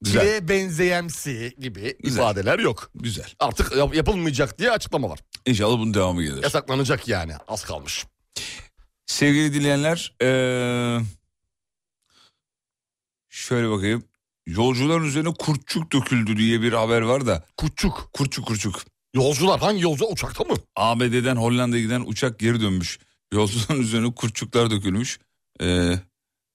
Speaker 4: Güzel.
Speaker 5: çileğe benzeyemsi gibi
Speaker 4: Güzel.
Speaker 5: ifadeler yok.
Speaker 4: Güzel.
Speaker 5: Artık yap- yapılmayacak diye açıklama var.
Speaker 4: İnşallah bunun devamı gelir.
Speaker 5: Yasaklanacak yani az kalmış.
Speaker 4: Sevgili dinleyenler, eee, şöyle bakayım. Yolcuların üzerine kurtçuk döküldü diye bir haber var da.
Speaker 5: Kurtçuk.
Speaker 4: Kurtçuk kurtçuk.
Speaker 5: Yolcular hangi yolcu uçakta mı?
Speaker 4: ABD'den Hollanda'ya giden uçak geri dönmüş. Yolcuların üzerine kurtçuklar dökülmüş. Eee,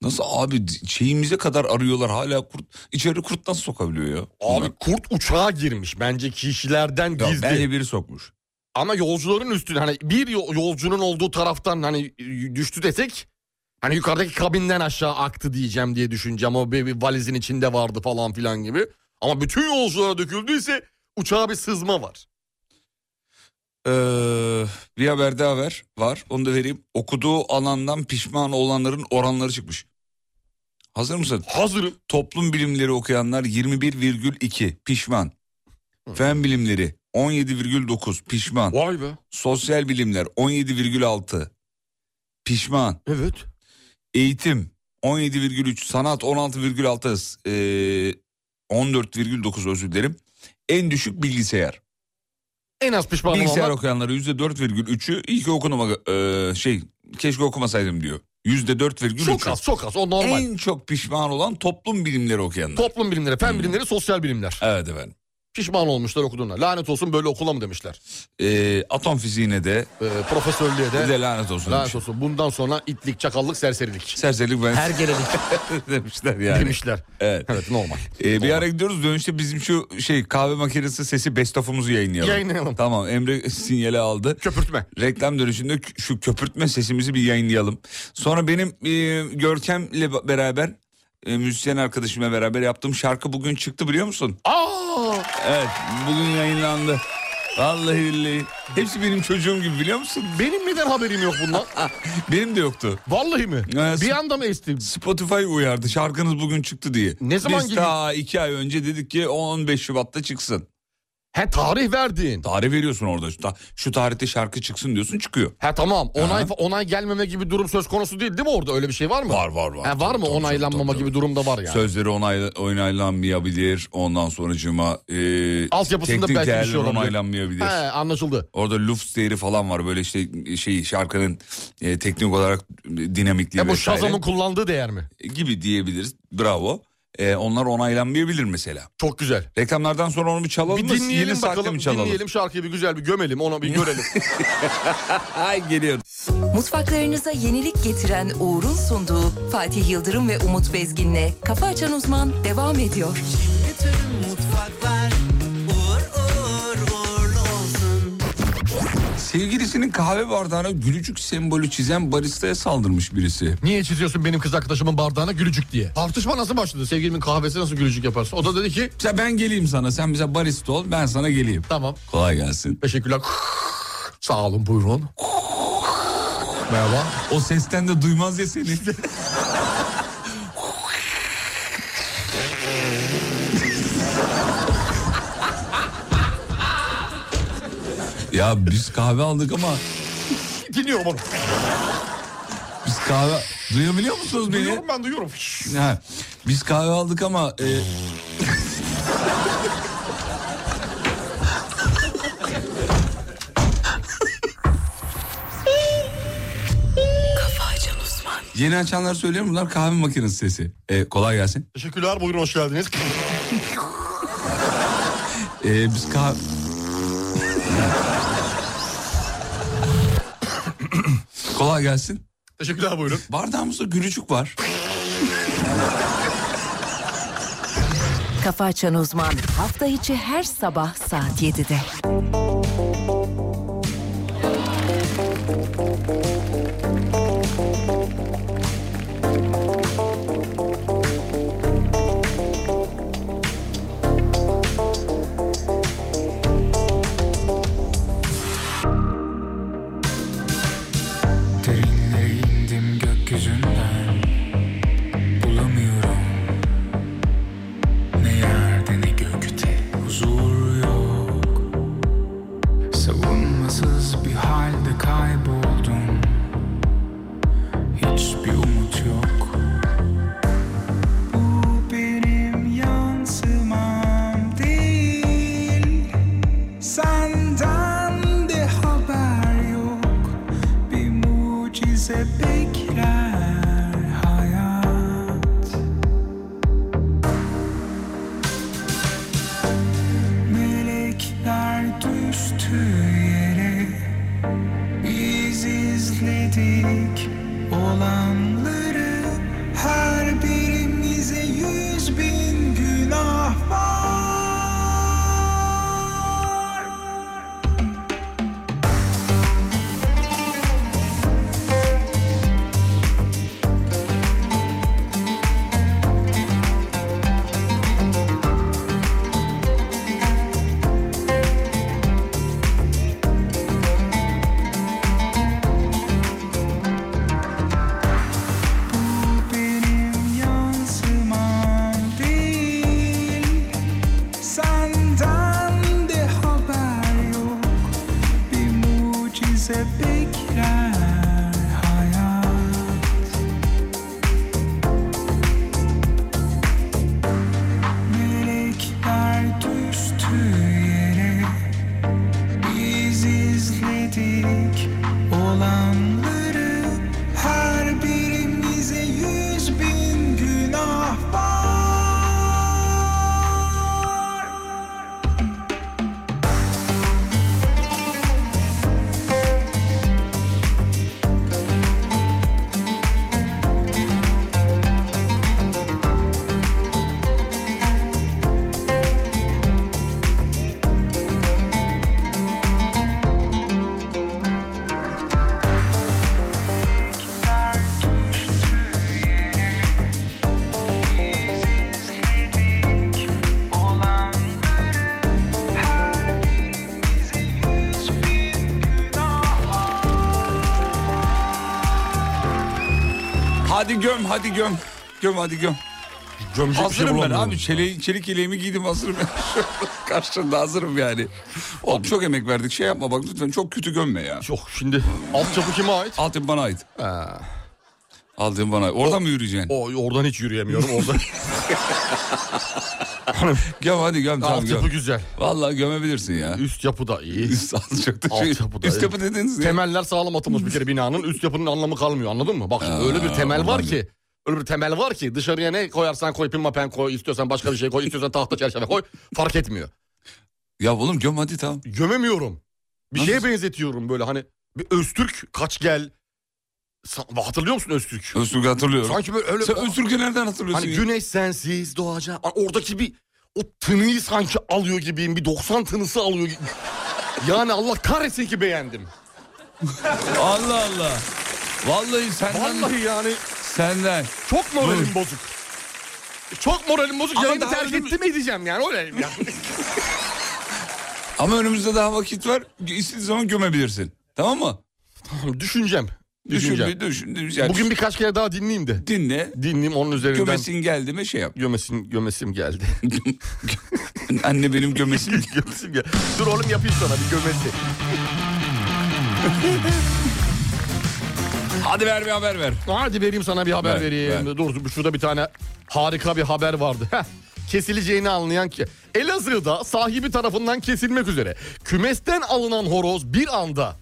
Speaker 4: nasıl abi şeyimize kadar arıyorlar hala kurt. İçeri kurt nasıl sokabiliyor ya?
Speaker 5: Abi
Speaker 4: Bunlar-
Speaker 5: kurt uçağa girmiş. Bence kişilerden
Speaker 4: Ya
Speaker 5: gizli.
Speaker 4: bence biri sokmuş.
Speaker 5: Ama yolcuların üstüne hani bir yo- yolcunun olduğu taraftan hani y- düştü desek hani yukarıdaki kabinden aşağı aktı diyeceğim diye düşüneceğim. O bir, bir valizin içinde vardı falan filan gibi. Ama bütün yolculara döküldüyse uçağa bir sızma var.
Speaker 4: Eee, Ee, bir haber daha ver. Var. Onu da vereyim. Okuduğu alandan pişman olanların oranları çıkmış. Hazır mısın?
Speaker 5: Hazırım.
Speaker 4: Toplum bilimleri okuyanlar 21,2 pişman. Fen bilimleri 17,9 pişman.
Speaker 5: Vay be.
Speaker 4: Sosyal bilimler 17,6 pişman.
Speaker 5: Evet.
Speaker 4: Eğitim 17,3 sanat 16,6 eee, 14,9 özür dilerim. En düşük bilgisayar.
Speaker 5: En az pişman
Speaker 4: Bilgisayar
Speaker 5: olanlar
Speaker 4: okuyanları %4,3'ü iyi ki okunama eee, şey keşke okumasaydım diyor.
Speaker 5: çok
Speaker 4: %4,3.
Speaker 5: az çok az o normal.
Speaker 4: En çok pişman olan toplum bilimleri okuyanlar.
Speaker 5: Toplum bilimleri,
Speaker 4: Hmm.
Speaker 5: fen bilimleri, sosyal bilimler.
Speaker 4: evet efendim.
Speaker 5: Pişman olmuşlar okuduğuna. Lanet olsun böyle okula mı demişler.
Speaker 4: Eee, Ee, atom fiziğine de
Speaker 5: Ee, profesörlüğe
Speaker 4: Bir
Speaker 5: de
Speaker 4: de lanet olsun.
Speaker 5: lanet
Speaker 4: demiş.
Speaker 5: olsun. Bundan sonra itlik, çakallık, serserilik.
Speaker 4: Serserilik ben
Speaker 5: Her gelelik
Speaker 4: demişler yani.
Speaker 5: demişler.
Speaker 4: Evet.
Speaker 5: Evet normal.
Speaker 4: Ee, bir ara gidiyoruz dönüşte bizim şu şey kahve makinesi sesi best of'umuzu yayınlayalım.
Speaker 5: Yayınlayalım.
Speaker 4: Tamam Emre sinyali aldı.
Speaker 5: Köpürtme.
Speaker 4: Reklam dönüşünde kü- şu köpürtme sesimizi bir yayınlayalım. Sonra benim e, Görkem'le ba- beraber e, müzisyen arkadaşımla beraber yaptığım şarkı bugün çıktı biliyor musun?
Speaker 5: Aa!
Speaker 4: Evet bugün yayınlandı. Vallahi billahi. Hepsi benim çocuğum gibi biliyor musun?
Speaker 5: Benim neden haberim yok bundan?
Speaker 4: Benim de yoktu.
Speaker 5: Vallahi mi?
Speaker 4: Evet.
Speaker 5: Bir anda mı estim?
Speaker 4: Spotify uyardı şarkınız bugün çıktı diye.
Speaker 5: Ne zaman
Speaker 4: Biz
Speaker 5: geliyor?
Speaker 4: daha iki ay önce dedik ki 15 Şubat'ta çıksın.
Speaker 5: He tarih verdin.
Speaker 4: Tarih veriyorsun orada. Şu, ta- şu tarihte şarkı çıksın diyorsun çıkıyor.
Speaker 5: He tamam onay
Speaker 4: Aha.
Speaker 5: onay gelmeme gibi durum söz konusu değil değil mi orada öyle bir şey var mı?
Speaker 4: Var var var.
Speaker 5: He, var
Speaker 4: Tabii,
Speaker 5: mı
Speaker 4: tabii,
Speaker 5: onaylanmama
Speaker 4: tabii, tabii.
Speaker 5: gibi durumda var yani.
Speaker 4: Sözleri onay, onaylanmayabilir. Ondan sonracığıma e,
Speaker 5: Altyapısında
Speaker 4: teknik
Speaker 5: belki bir şey
Speaker 4: değerler
Speaker 5: olabilir.
Speaker 4: onaylanmayabilir.
Speaker 5: He anlaşıldı.
Speaker 4: Orada loops değeri falan var. Böyle işte şey şarkının e, teknik olarak dinamikliği
Speaker 5: E bu
Speaker 4: vesaire
Speaker 5: Shazam'ın kullandığı değer mi?
Speaker 4: gibi diyebiliriz. Bravo. E, onlar onaylanmayabilir mesela.
Speaker 5: Çok güzel.
Speaker 4: Reklamlardan sonra onu bir çalalım
Speaker 5: Bir
Speaker 4: mı? Yeni
Speaker 5: dinleyelim
Speaker 4: saatte
Speaker 5: bakalım.
Speaker 4: mi çalalım?
Speaker 5: Dinleyelim şarkıyı bir güzel bir gömelim ona bir görelim.
Speaker 4: Ay geliyor.
Speaker 1: Mutfaklarınıza yenilik getiren Uğur'un sunduğu Fatih Yıldırım ve Umut Bezgin'le Kafa Açan Uzman devam ediyor.
Speaker 8: Bütün mutfaklar uğur uğur uğurlu olsun.
Speaker 4: Sevgilisinin kahve bardağına gülücük sembolü çizen baristaya saldırmış birisi.
Speaker 5: Niye çiziyorsun benim kız arkadaşımın bardağına gülücük diye? Tartışma nasıl başladı? Sevgilimin kahvesi nasıl gülücük yaparsın? O da dedi ki
Speaker 4: Mesela ben geleyim sana sen bize barista ol ben sana geleyim.
Speaker 5: tamam
Speaker 4: Kolay gelsin.
Speaker 5: teşekkürler. Sağ olun buyurun. Merhaba.
Speaker 4: O sesten de duymaz ya seni. ya biz kahve aldık ama
Speaker 5: Dinliyorum onu.
Speaker 4: biz kahve... Duyabiliyor musunuz beni?
Speaker 5: Duyuyorum ben duyuyorum.
Speaker 4: Ha, biz kahve aldık ama... e, Yeni açanlar söylüyorum bunlar kahve makinesi sesi. E, kolay gelsin.
Speaker 5: Teşekkürler buyurun hoş geldiniz.
Speaker 4: E, biz kahve... kolay gelsin.
Speaker 5: Teşekkürler buyurun.
Speaker 4: Bardağımızda gülücük var.
Speaker 1: Kafa Açan Uzman hafta içi her sabah saat 7'de.
Speaker 12: Derinlere indim gökyüzünden Bulamıyorum Ne yerde ne gökte huzur yok Savunmasız bir halde kayboldum Hiçbir umut yok Bu benim yansımam değil Senden de haber yok Bir mucize bekler hayat Melekler düştü yere Biz izledik olanları Her birimize yüz bin günah var benim yansımam değil Senden de haber yok Bir mucize bekler hayat Melekler düştü yere biz izledik olanları Her birimize yüz bin günah var
Speaker 4: Hadi göm hadi göm. Göm hadi göm.
Speaker 5: Gömecek bir şey
Speaker 4: hazırım ben
Speaker 5: bulamıyorum.
Speaker 4: abi. Çelik, çelik yeleğimi giydim hazırım. Karşında hazırım yani. Oğlum çok emek verdik şey yapma bak lütfen çok kötü gömme ya.
Speaker 5: Yok şimdi alt çapı kime ait?
Speaker 4: Altın bana ait. Altın bana ait. Oradan mı yürüyeceksin?
Speaker 5: O, oradan hiç yürüyemiyorum oradan.
Speaker 4: Gel hadi gel tamam
Speaker 5: alt yapı
Speaker 4: gel.
Speaker 5: güzel.
Speaker 4: Vallahi gömebilirsin ya.
Speaker 5: Üst yapı da iyi.
Speaker 4: Üst alt çok da
Speaker 5: Alt
Speaker 4: şey.
Speaker 5: yapı da
Speaker 4: Üst
Speaker 5: iyi.
Speaker 4: yapı dediniz ne?
Speaker 5: Temeller sağlam atılmış bir kere binanın. Üst yapının anlamı kalmıyor anladın mı? Bak şimdi öyle bir temel var ki. Öyle bir temel var ki dışarıya ne koyarsan koy pin mapen koy istiyorsan başka bir şey koy istiyorsan tahta çerçeve koy fark etmiyor.
Speaker 4: Ya oğlum göm hadi tamam.
Speaker 5: Gömemiyorum. Bir
Speaker 4: Nasıl?
Speaker 5: şeye benzetiyorum böyle hani bir Öztürk kaç gel. Sa- hatırlıyor musun Öztürk?
Speaker 4: Öztürk'ü hatırlıyorum.
Speaker 5: Sanki böyle öyle
Speaker 4: Sen Öztürk'ü nereden hatırlıyorsun?
Speaker 5: Hani
Speaker 4: ya?
Speaker 5: güneş sensiz doğacağım. Hani oradaki bir o tınıyı sanki alıyor gibiyim. Bir 90 tınısı alıyor gibi. Yani Allah kahretsin ki beğendim.
Speaker 4: Allah Allah. Vallahi senden
Speaker 5: Vallahi yani
Speaker 4: senden.
Speaker 5: çok moralim bozuk. Çok moralim bozuk.
Speaker 4: Ama
Speaker 5: Yayını
Speaker 4: daha
Speaker 5: terk
Speaker 4: önümüz-
Speaker 5: etti mi edeceğim yani öyle. Yani.
Speaker 4: Ama önümüzde daha vakit var. İstediğin zaman gömebilirsin. Tamam mı?
Speaker 5: Tamam, düşüneceğim.
Speaker 4: Düşün
Speaker 5: Düşüneceğim.
Speaker 4: bir düşün. Yani
Speaker 5: Bugün birkaç kere daha dinleyeyim de.
Speaker 4: dinle.
Speaker 5: Dinleyeyim onun üzerinden.
Speaker 4: Gömesin geldi mi şey yap.
Speaker 5: Gömesim, gömesim geldi.
Speaker 4: Anne benim gömesim.
Speaker 5: gömesim geldi. Dur oğlum yapayım sana bir gömesi.
Speaker 4: Hadi ver bir haber ver.
Speaker 5: Hadi vereyim sana bir haber
Speaker 4: Ver,
Speaker 5: vereyim.
Speaker 4: ver.
Speaker 5: Dur şurada bir tane harika bir haber vardı. Heh, Kesileceğini anlayan ki Elazığ'da sahibi tarafından kesilmek üzere kümesten alınan horoz bir anda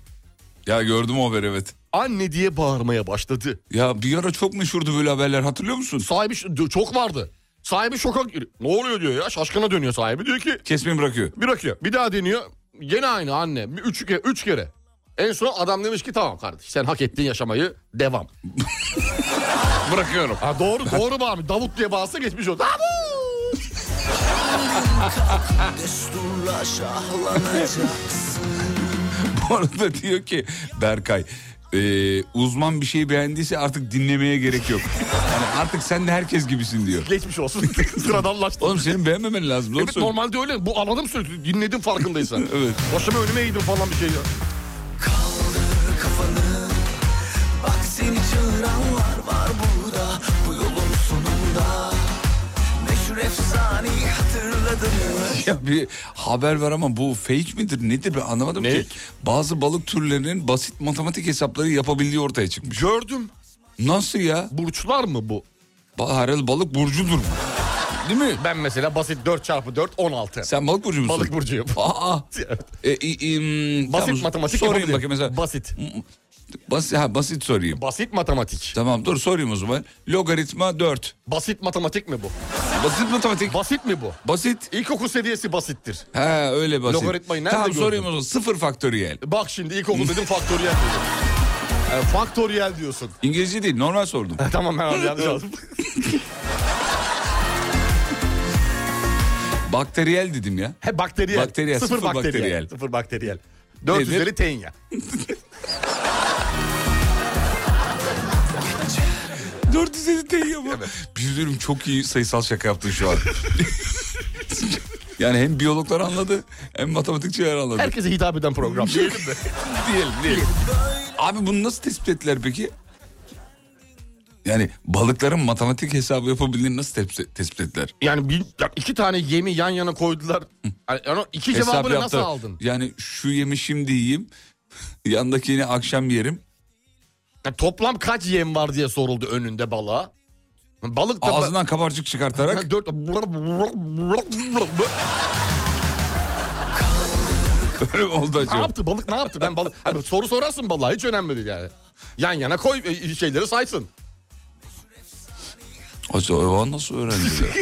Speaker 4: Ya gördüm o haberi evet.
Speaker 5: anne diye bağırmaya başladı.
Speaker 4: Ya bir ara çok meşhurdu böyle haberler hatırlıyor musun?
Speaker 5: Sahibi ş- çok vardı. Sahibi şoka giriyor. Ne oluyor diyor ya şaşkına dönüyor sahibi diyor ki
Speaker 4: Kesmeyi bırakıyor.
Speaker 5: bir bakıyor bir daha deniyor gene aynı anne bir üç, ke- üç kere. En son adam demiş ki tamam kardeş sen hak ettiğin yaşamayı devam.
Speaker 4: Bırakıyorum.
Speaker 5: Ha doğru doğru bağırmış. Davut diye bağırsa geçmiş oldu. Davut!
Speaker 2: Desturla şahlanacaksın
Speaker 4: Bu arada diyor ki Berkay e, uzman bir şey beğendiyse artık dinlemeye gerek yok. Yani artık sen de herkes gibisin diyor.
Speaker 5: Geçmiş olsun. Sıradanlaştı.
Speaker 4: Oğlum senin beğenmemen lazım. doğru
Speaker 5: Evet
Speaker 4: söylüyorum.
Speaker 5: normalde öyle. Bu anladım sürekli. Dinledim farkındaysan.
Speaker 4: Evet.
Speaker 5: Başıma önüme eğdim falan bir şey. ya.
Speaker 2: Kaldır kafanı Bak seni çağıranlar var burada Bu yolun sonunda Meşhur efsaneyi hatırladın mı?
Speaker 4: Ya bir haber var ama bu fake midir nedir ben anlamadım
Speaker 5: Ne?
Speaker 4: ki. Bazı balık türlerinin basit matematik hesapları yapabildiği ortaya çıkmış.
Speaker 5: Gördüm.
Speaker 4: Nasıl ya?
Speaker 5: Burçlar mı bu?
Speaker 4: Ba- Herhalde balık burcudur bu. Değil mi?
Speaker 5: Ben mesela basit 4 çarpı 4 16.
Speaker 4: Sen balık burcu musun?
Speaker 5: Balık burcuyum.
Speaker 4: Aa.
Speaker 5: Evet.
Speaker 4: E, i- im,
Speaker 5: Basit
Speaker 4: tamam,
Speaker 5: matematik
Speaker 4: Sorayım
Speaker 5: yapabilirim.
Speaker 4: bakayım mesela.
Speaker 5: Basit.
Speaker 4: Basit, ha, basit sorayım.
Speaker 5: Basit matematik.
Speaker 4: Tamam dur sorayım o zaman. Logaritma 4.
Speaker 5: Basit matematik mi bu?
Speaker 4: Basit matematik.
Speaker 5: Basit mi bu?
Speaker 4: Basit.
Speaker 5: İlkokul seviyesi basittir.
Speaker 4: Ha öyle basit.
Speaker 5: Logaritmayı nerede
Speaker 4: Tamam
Speaker 5: gördün?
Speaker 4: sorayım o zaman. Sıfır faktöriyel.
Speaker 5: Bak şimdi ilkokul dedim faktöriyel dedim. E, faktöriyel diyorsun.
Speaker 4: İngilizce değil normal sordum.
Speaker 5: E, tamam ben abi yanlış aldım.
Speaker 4: Bakteriyel dedim ya.
Speaker 5: He bakteriyel.
Speaker 4: Bakteriyel,
Speaker 5: Sıfır,
Speaker 4: sıfır
Speaker 5: bakteriyel.
Speaker 4: bakteriyel.
Speaker 5: Sıfır bakteriyel. 4
Speaker 4: Nedir?
Speaker 5: üzeri tenya.
Speaker 4: Dört üzeri değil ama. Bir şey söyleyeyim, çok iyi sayısal şaka yaptın şu an. yani hem biyologlar anladı hem matematikçiler anladı.
Speaker 5: Herkese hitap eden program. Diyelim de.
Speaker 4: diyelim diyelim. Abi bunu nasıl tespit ettiler peki? Yani balıkların matematik hesabı yapabildiğini nasıl tespit, tespit ettiler?
Speaker 5: Yani bir, ya iki tane yemi yan yana koydular. Yani, yani o iki cevabını
Speaker 4: Hesap
Speaker 5: nasıl
Speaker 4: yaptı.
Speaker 5: aldın?
Speaker 4: Yani şu yemi şimdi yiyeyim. Yandakini akşam yerim.
Speaker 5: Ya toplam kaç yem var diye soruldu önünde balığa. Balık da
Speaker 4: Ağzından kabarcık çıkartarak
Speaker 5: Ya dört
Speaker 4: öyle mi oldu
Speaker 5: ne
Speaker 4: acaba?
Speaker 5: yaptı balık ne yaptı ben balık Hani soru sorarsın balığa hiç önemli değil yani yan yana koy e, şeyleri saysın
Speaker 4: Acaba nasıl öğrendi? ya?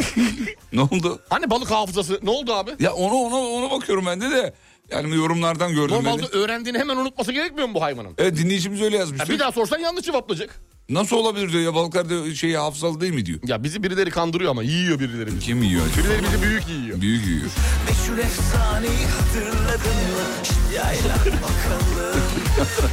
Speaker 4: ne oldu?
Speaker 5: hani balık hafızası ne oldu abi
Speaker 4: Ya ona ona ona bakıyorum ben de de. Yani yorumlardan gördüm
Speaker 5: normalde
Speaker 4: beni.
Speaker 5: öğrendiğini hemen unutması gerekmiyor mu bu hayvanın
Speaker 4: Evet dinleyicimiz öyle yazmış.
Speaker 5: ya bir daha sorsan yanlış cevaplayacak
Speaker 4: Nasıl olabilir diyor ya balıklar diyor, şey hafızalı değil mi diyor.
Speaker 5: ya bizi birileri kandırıyor ama yiyor birileri bizi
Speaker 4: Kim yiyor acaba?
Speaker 5: birileri bizi büyük yiyor
Speaker 4: Büyük yiyor.
Speaker 2: Meşhur efsaneyi hatırladın mı? Şimdi Yaylan bakalım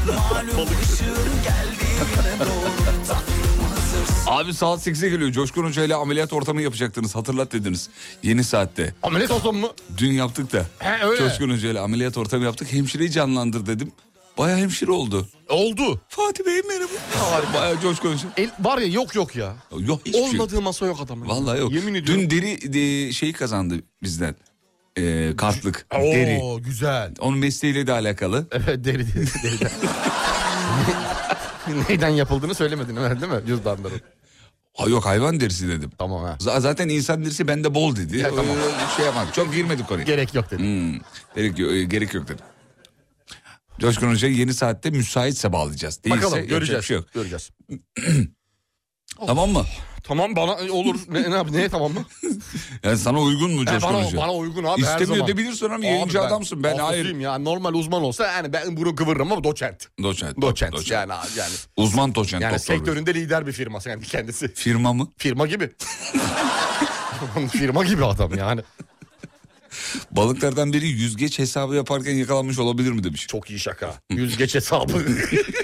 Speaker 2: Malum ışığın geldiğine doğru Tatlım hazırsın
Speaker 4: Abi saat 8'e geliyor. Coşkun Hoca ile ameliyat ortamı yapacaktınız. Hatırlat dediniz. Yeni saatte.
Speaker 5: ameliyat olsun mu
Speaker 4: Dün yaptık da.
Speaker 5: He, öyle.
Speaker 4: Coşkun Hoca ile ameliyat ortamı yaptık. Hemşireyi canlandır dedim. Bayağı hemşire oldu.
Speaker 5: Oldu.
Speaker 4: Fatih Bey merhaba. Bayağı coşkun.
Speaker 5: El, var ya yok yok ya.
Speaker 4: Yok hiçbir şey yok.
Speaker 5: Olmadığı masa yok adamın.
Speaker 4: Vallahi yok.
Speaker 5: Yemin ediyorum.
Speaker 4: Dün deri de, şeyi kazandı bizden. Ee, kartlık.
Speaker 5: Oo,
Speaker 4: Deri.
Speaker 5: güzel.
Speaker 4: Onun mesleğiyle de alakalı.
Speaker 5: Evet deri deri. deriden. Neyden yapıldığını söylemedin Ömer değil mi? Cüzdanların.
Speaker 4: Ha, yok hayvan derisi dedim.
Speaker 5: Tamam ha.
Speaker 4: Z- Zaten insan derisi bende bol dedi.
Speaker 5: Ya, tamam.
Speaker 4: Ee, Şey yapmadım. Çok girmedik konuya.
Speaker 5: Gerek yok dedim.
Speaker 4: Hmm, gerek, yok, e, gerek yok dedim. Coşkun Hoca yeni saatte müsaitse bağlayacağız. Değilse
Speaker 5: Bakalım
Speaker 4: yapacak
Speaker 5: göreceğiz.
Speaker 4: bir şey yok.
Speaker 5: Göreceğiz.
Speaker 4: Tamam mı?
Speaker 5: Tamam bana olur. Ne, ne yap? Neye tamam mı?
Speaker 4: Yani sana uygun mu
Speaker 5: E,
Speaker 4: Coşkun
Speaker 5: bana,
Speaker 4: Hoca?
Speaker 5: bana uygun abi her zaman.
Speaker 4: İstemiyor debilirsin ama yayıncı adamsın. Ben hayır.
Speaker 5: hafızıyım ya. Normal uzman olsa yani ben bunu kıvırırım ama doçent.
Speaker 4: Doçent.
Speaker 5: Doçent.
Speaker 4: doçent.
Speaker 5: Yani yani
Speaker 4: Uzman doçent.
Speaker 5: yani
Speaker 4: doktor.
Speaker 5: sektöründe lider bir firması yani kendisi.
Speaker 4: Firma mı?
Speaker 5: Firma gibi. firma gibi adam yani.
Speaker 4: Balıklardan biri yüzgeç hesabı yaparken yakalanmış olabilir mi demiş.
Speaker 5: Çok iyi şaka. Yüzgeç hesabı.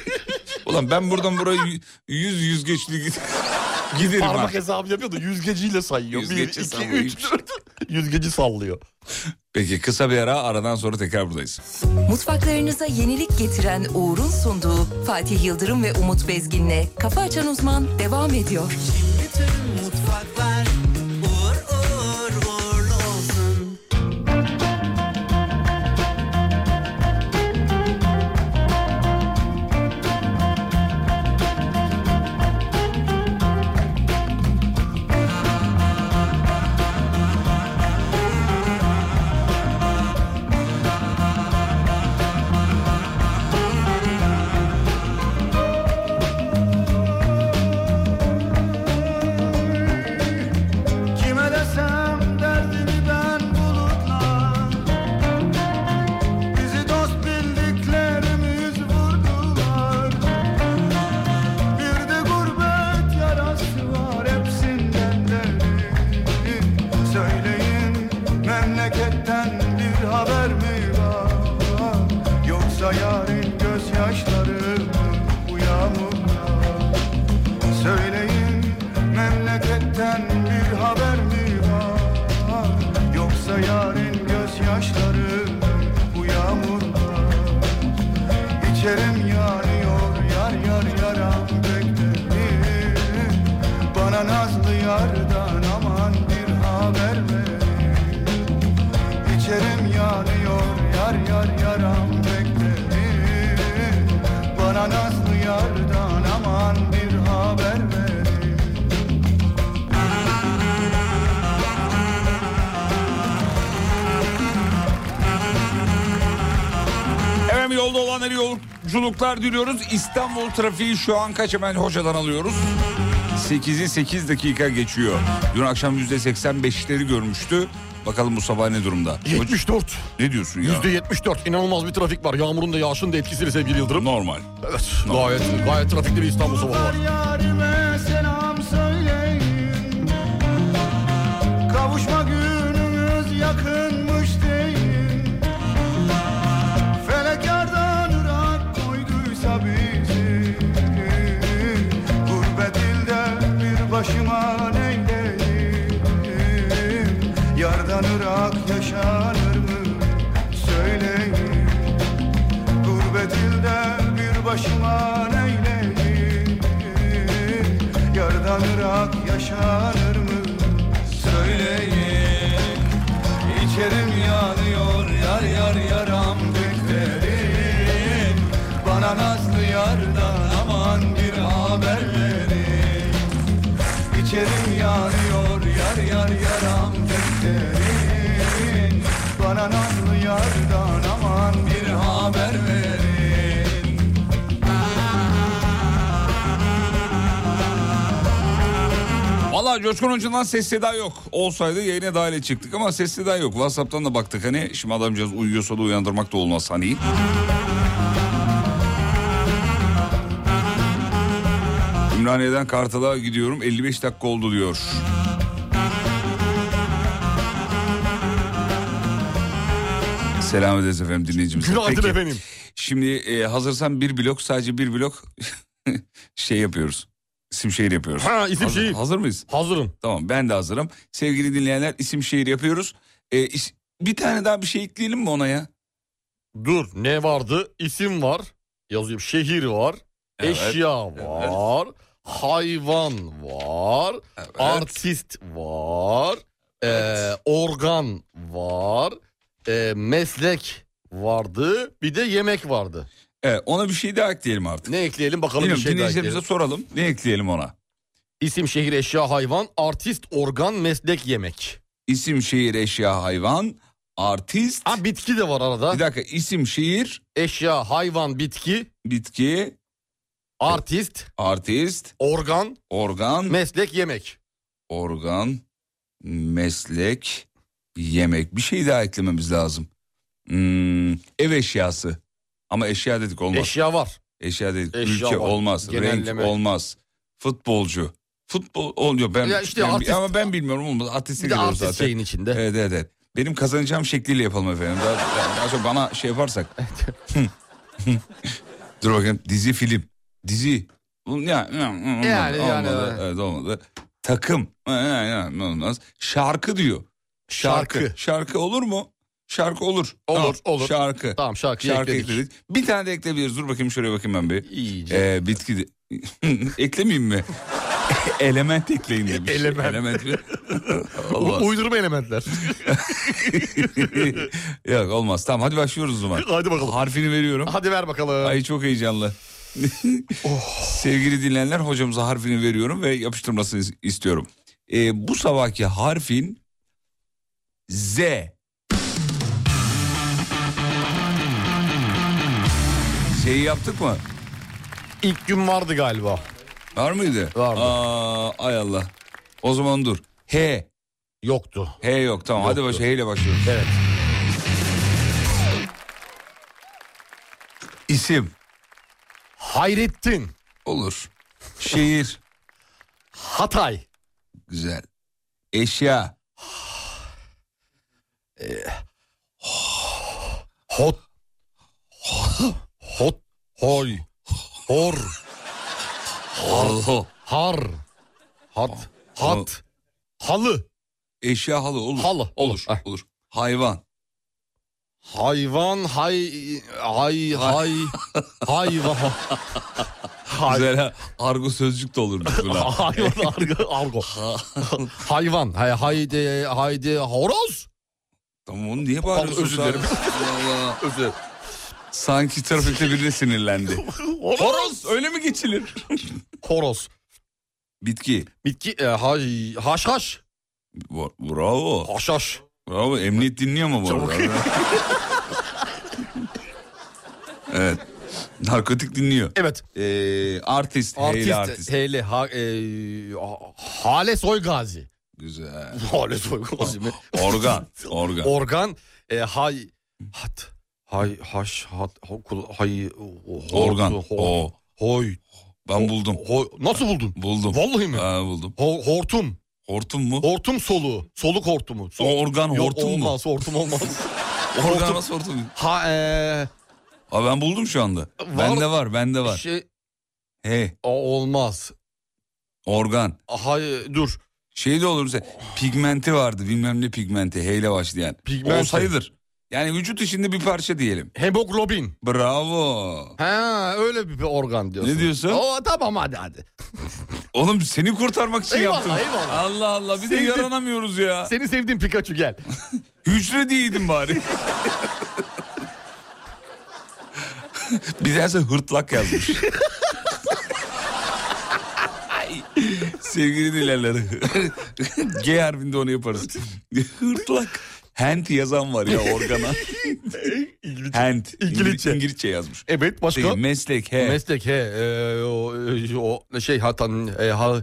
Speaker 4: Ulan ben buradan buraya y- yüz yüzgeçli gid- giderim ha.
Speaker 5: Parmak hesabı yapıyor da yüzgeciyle sayıyor.
Speaker 4: Yüzgeci
Speaker 5: bir, iki,
Speaker 4: sallıyor.
Speaker 5: üç, dört. Yüzgeci sallıyor.
Speaker 4: Peki kısa bir ara aradan sonra tekrar buradayız.
Speaker 1: Mutfaklarınıza yenilik getiren Uğur'un sunduğu Fatih Yıldırım ve Umut Bezgin'le Kafa Açan Uzman devam ediyor.
Speaker 2: Bütün mutfaklar uğur uğur uğurlu olsun. Kime desem derdimi ben bulutla Bizi dost bildiklerimiz vurdular Bir de gurbet yarası var hepsinden derin Söyleyin memleketten bir haber mi var Yoksa yarın gözyaşları mı bu yağmurlar Söyleyin memleketten bir haber mi var Yoksa yarın gözyaşları bu yağmurda İçerim yanıyor yar yar yaram beklerim Bana nazlı yardan aman bir haber verin İçerim yanıyor yar yar yaram beklerim Bana nazlı yardan aman bir haber verin
Speaker 4: Efendim yolda olanlara yolculuklar diliyoruz. İstanbul trafiği şu an kaç hemen hocadan alıyoruz. 8'i 8 dakika geçiyor. Dün akşam %85'leri görmüştü. Bakalım bu sabah ne durumda? Hoca-
Speaker 5: 74.
Speaker 4: Ne diyorsun ya?
Speaker 5: Yüzde 74. İnanılmaz bir trafik var. Yağmurun da yağışın da etkisiyle sevgili Yıldırım.
Speaker 4: Normal.
Speaker 5: Evet. Gayet, gayet trafikli bir İstanbul sabahı var.
Speaker 2: Yarime selam söyleyin Kavuşma günümüz yakınmış deyin Felek yardan ırak koyduysa bizi Gurbet ilde bir başıma neyleyim Yardan ırak yaşanır mı söyleyin Gurbet ilde bir başıma neyleyim Yardan ırak yaşanır mı? Söyleyin İçerim yanıyor yar yar yaram beklerim Bana nazlı yardan aman bir haber verin İçerim yanıyor yar yar yaram beklerim Bana nazlı yardan aman bir haber verin
Speaker 4: Valla Coşkun Hoca'dan ses seda yok. Olsaydı yayına dahil çıktık ama ses seda yok. Whatsapp'tan da baktık hani. Şimdi adamcağız uyuyorsa da uyandırmak da olmaz hani. Ümraniye'den Kartal'a gidiyorum. 55 dakika oldu diyor. Selam ederiz efendim dinleyicimiz.
Speaker 5: Günaydın
Speaker 4: Peki.
Speaker 5: efendim.
Speaker 4: Şimdi e, hazırsan bir blok sadece bir blok şey yapıyoruz. İsim şehir yapıyoruz.
Speaker 5: Ha, isim
Speaker 4: hazır,
Speaker 5: şehir.
Speaker 4: Hazır mıyız?
Speaker 5: Hazırım.
Speaker 4: Tamam ben de hazırım. Sevgili dinleyenler isim şehir yapıyoruz. E, is- bir tane daha bir şey ekleyelim mi ona ya?
Speaker 5: Dur ne vardı? İsim var. yazıyor. Şehir var,
Speaker 4: Evet,
Speaker 5: eşya var, hayvan var,
Speaker 4: Evet.
Speaker 5: artist var, e, organ var, e, meslek vardı, bir de yemek vardı.
Speaker 4: Evet, ona bir şey daha ekleyelim artık.
Speaker 5: Ne ekleyelim bakalım
Speaker 4: Bilmiyorum,
Speaker 5: bir şey daha
Speaker 4: dinleyicilerimize
Speaker 5: ekleyelim.
Speaker 4: soralım. Ne ekleyelim ona?
Speaker 5: İsim, şehir, eşya, hayvan, artist, organ, meslek, yemek.
Speaker 4: İsim, şehir, eşya, hayvan, artist.
Speaker 5: Ha bitki de var arada.
Speaker 4: Bir dakika isim, şehir,
Speaker 5: Eşya, hayvan, bitki,
Speaker 4: bitki,
Speaker 5: artist,
Speaker 4: artist,
Speaker 5: organ,
Speaker 4: organ,
Speaker 5: meslek, yemek.
Speaker 4: organ, meslek, yemek. Bir şey daha eklememiz lazım. Hmm, ev eşyası. Ama eşya dedik olmaz.
Speaker 5: Eşya var.
Speaker 4: eşya dedik
Speaker 5: Eşya
Speaker 4: ülke
Speaker 5: var.
Speaker 4: olmaz.
Speaker 5: Genelleme.
Speaker 4: Renk olmaz. Futbolcu. Futbol oluyor ben,
Speaker 5: Ya işte
Speaker 4: ben-
Speaker 5: artist-
Speaker 4: ama ben bilmiyorum olmaz. Artisti
Speaker 5: Bir de
Speaker 4: giriyoruz
Speaker 5: artist
Speaker 4: zaten.
Speaker 5: şeyin içinde.
Speaker 4: Evet evet evet. Benim kazanacağım şekliyle yapalım efendim. Daha, daha- daha çok bana şey yaparsak. Dur bakayım dizi film. Dizi. Bunun ya, ya, olmadı,
Speaker 5: Yani, yani,
Speaker 4: olmadı. Evet, olmadı. Takım. Ya, ya, ya, olmaz. Şarkı diyor. Şarkı.
Speaker 5: Şarkı.
Speaker 4: Şarkı olur mu? Şarkı olur.
Speaker 5: Olur,
Speaker 4: Tamam,
Speaker 5: olur.
Speaker 4: Şarkı.
Speaker 5: Tamam şarkıyı
Speaker 4: Şarkı
Speaker 5: ekledik.
Speaker 4: ekledik. Bir tane de ekleyebiliriz. Dur bakayım şuraya bakayım ben bir.
Speaker 5: İyice.
Speaker 4: Ee, bitki de- eklemeyeyim mi? Element ekleyin demiş.
Speaker 5: Element.
Speaker 4: Element mi?
Speaker 5: U-
Speaker 4: Olmaz.
Speaker 5: uydurma elementler.
Speaker 4: Yok olmaz. Tamam hadi başlıyoruz o zaman.
Speaker 5: Hadi bakalım.
Speaker 4: Harfini veriyorum.
Speaker 5: Hadi ver bakalım. Oh.
Speaker 4: Ay çok heyecanlı. Sevgili dinleyenler hocamıza harfini veriyorum ve yapıştırmasını is- istiyorum. Ee, bu sabahki harfin Z. Şeyi yaptık mı?
Speaker 5: İlk gün vardı galiba.
Speaker 4: Var mıydı?
Speaker 5: Vardı.
Speaker 4: Aa, ay Allah. O zaman dur. H.
Speaker 5: Yoktu.
Speaker 4: H yok tamam hadi
Speaker 5: Yoktu.
Speaker 4: başla H ile başlıyoruz.
Speaker 5: Evet.
Speaker 4: İsim.
Speaker 5: Hayrettin.
Speaker 4: Olur. Şehir.
Speaker 5: Hatay.
Speaker 4: Güzel. Eşya.
Speaker 5: Hot. Hot. Hoy. Hor.
Speaker 4: Halı.
Speaker 5: Har. Hat. Hat. Halı.
Speaker 4: Eşya halı olur.
Speaker 5: Halı,
Speaker 4: Olur.
Speaker 5: olur. Ah.
Speaker 4: Olur. Hayvan.
Speaker 5: Hayvan hay hay hay hayvan hay,
Speaker 4: Güzel ha. Argo sözcük de olur buna.
Speaker 5: hayvan argo, argo. hayvan hay, haydi haydi horoz
Speaker 4: tamam onu niye bağırıyorsun?
Speaker 5: Özür
Speaker 4: sen?
Speaker 5: dilerim.
Speaker 4: Allah. Sanki trafikte birine sinirlendi. Horoz öyle mi geçilir?
Speaker 5: horoz
Speaker 4: Bitki.
Speaker 5: bitki e, hay haşhaş
Speaker 4: Bo- Bravo.
Speaker 5: haşhaş
Speaker 4: Bravo. Emniyet dinliyor mu bu
Speaker 5: Çabuk.
Speaker 4: arada? evet. Narkotik dinliyor.
Speaker 5: evet
Speaker 4: Ee, artist.
Speaker 5: artist
Speaker 4: Artist. artist.
Speaker 5: hele ha, e, ha- Hale Soygazi
Speaker 4: Güzel.
Speaker 5: Hale Soygazi mi
Speaker 4: Organ. Organ.
Speaker 5: organ e, hay hat hay haş hat ho- hay ho-
Speaker 4: Organ.
Speaker 5: ho-
Speaker 4: O.
Speaker 5: hoy
Speaker 4: Ben buldum.
Speaker 5: Ho- nasıl buldun
Speaker 4: Buldum.
Speaker 5: Vallahi mi?
Speaker 4: Ha, buldum.
Speaker 5: Ho- hortum.
Speaker 4: Hortum mu?
Speaker 5: Hortum soluğu. Soluk hortumu. Sol-
Speaker 4: O organ hortum
Speaker 5: Yok,
Speaker 4: mu?
Speaker 5: olmaz, hortum olmaz.
Speaker 4: Organ
Speaker 5: hortum.
Speaker 4: nasıl hortum?
Speaker 5: ha e, eee
Speaker 4: Aa, ben buldum şu anda. Bende var, bende var.
Speaker 5: şey
Speaker 4: He,
Speaker 5: o olmaz.
Speaker 4: organ.
Speaker 5: Hayır dur.
Speaker 4: Şey de olur mesela, pigmenti vardı bilmem ne pigmenti. H ile başlayan.
Speaker 5: Pigmenti.
Speaker 4: O sayıdır. Yani vücut içinde bir parça diyelim.
Speaker 5: Hemoglobin.
Speaker 4: Bravo.
Speaker 5: Ha öyle bir, bir organ diyorsun.
Speaker 4: Ne diyorsun?
Speaker 5: Oo, tamam hadi hadi.
Speaker 4: Oğlum seni kurtarmak için
Speaker 5: Eyvallah,
Speaker 4: yaptım.
Speaker 5: eyvallah.
Speaker 4: Allah Allah bir de
Speaker 5: Sevdim.
Speaker 4: yaranamıyoruz ya.
Speaker 5: Seni sevdiğim Pikachu gel.
Speaker 4: Hücre diyeydin bari. Bir derse hırtlak yazmış. Ay, Sevgili dinleyenler. G harfinde onu yaparız. Hırtlak. Hent yazan var ya organa. Hent.
Speaker 5: İngilizce.
Speaker 4: İngilizce yazmış. Şey,
Speaker 5: evet başka.
Speaker 4: Peki, meslek he.
Speaker 5: Meslek he. eee, o, eee, o şey hatan e, ha,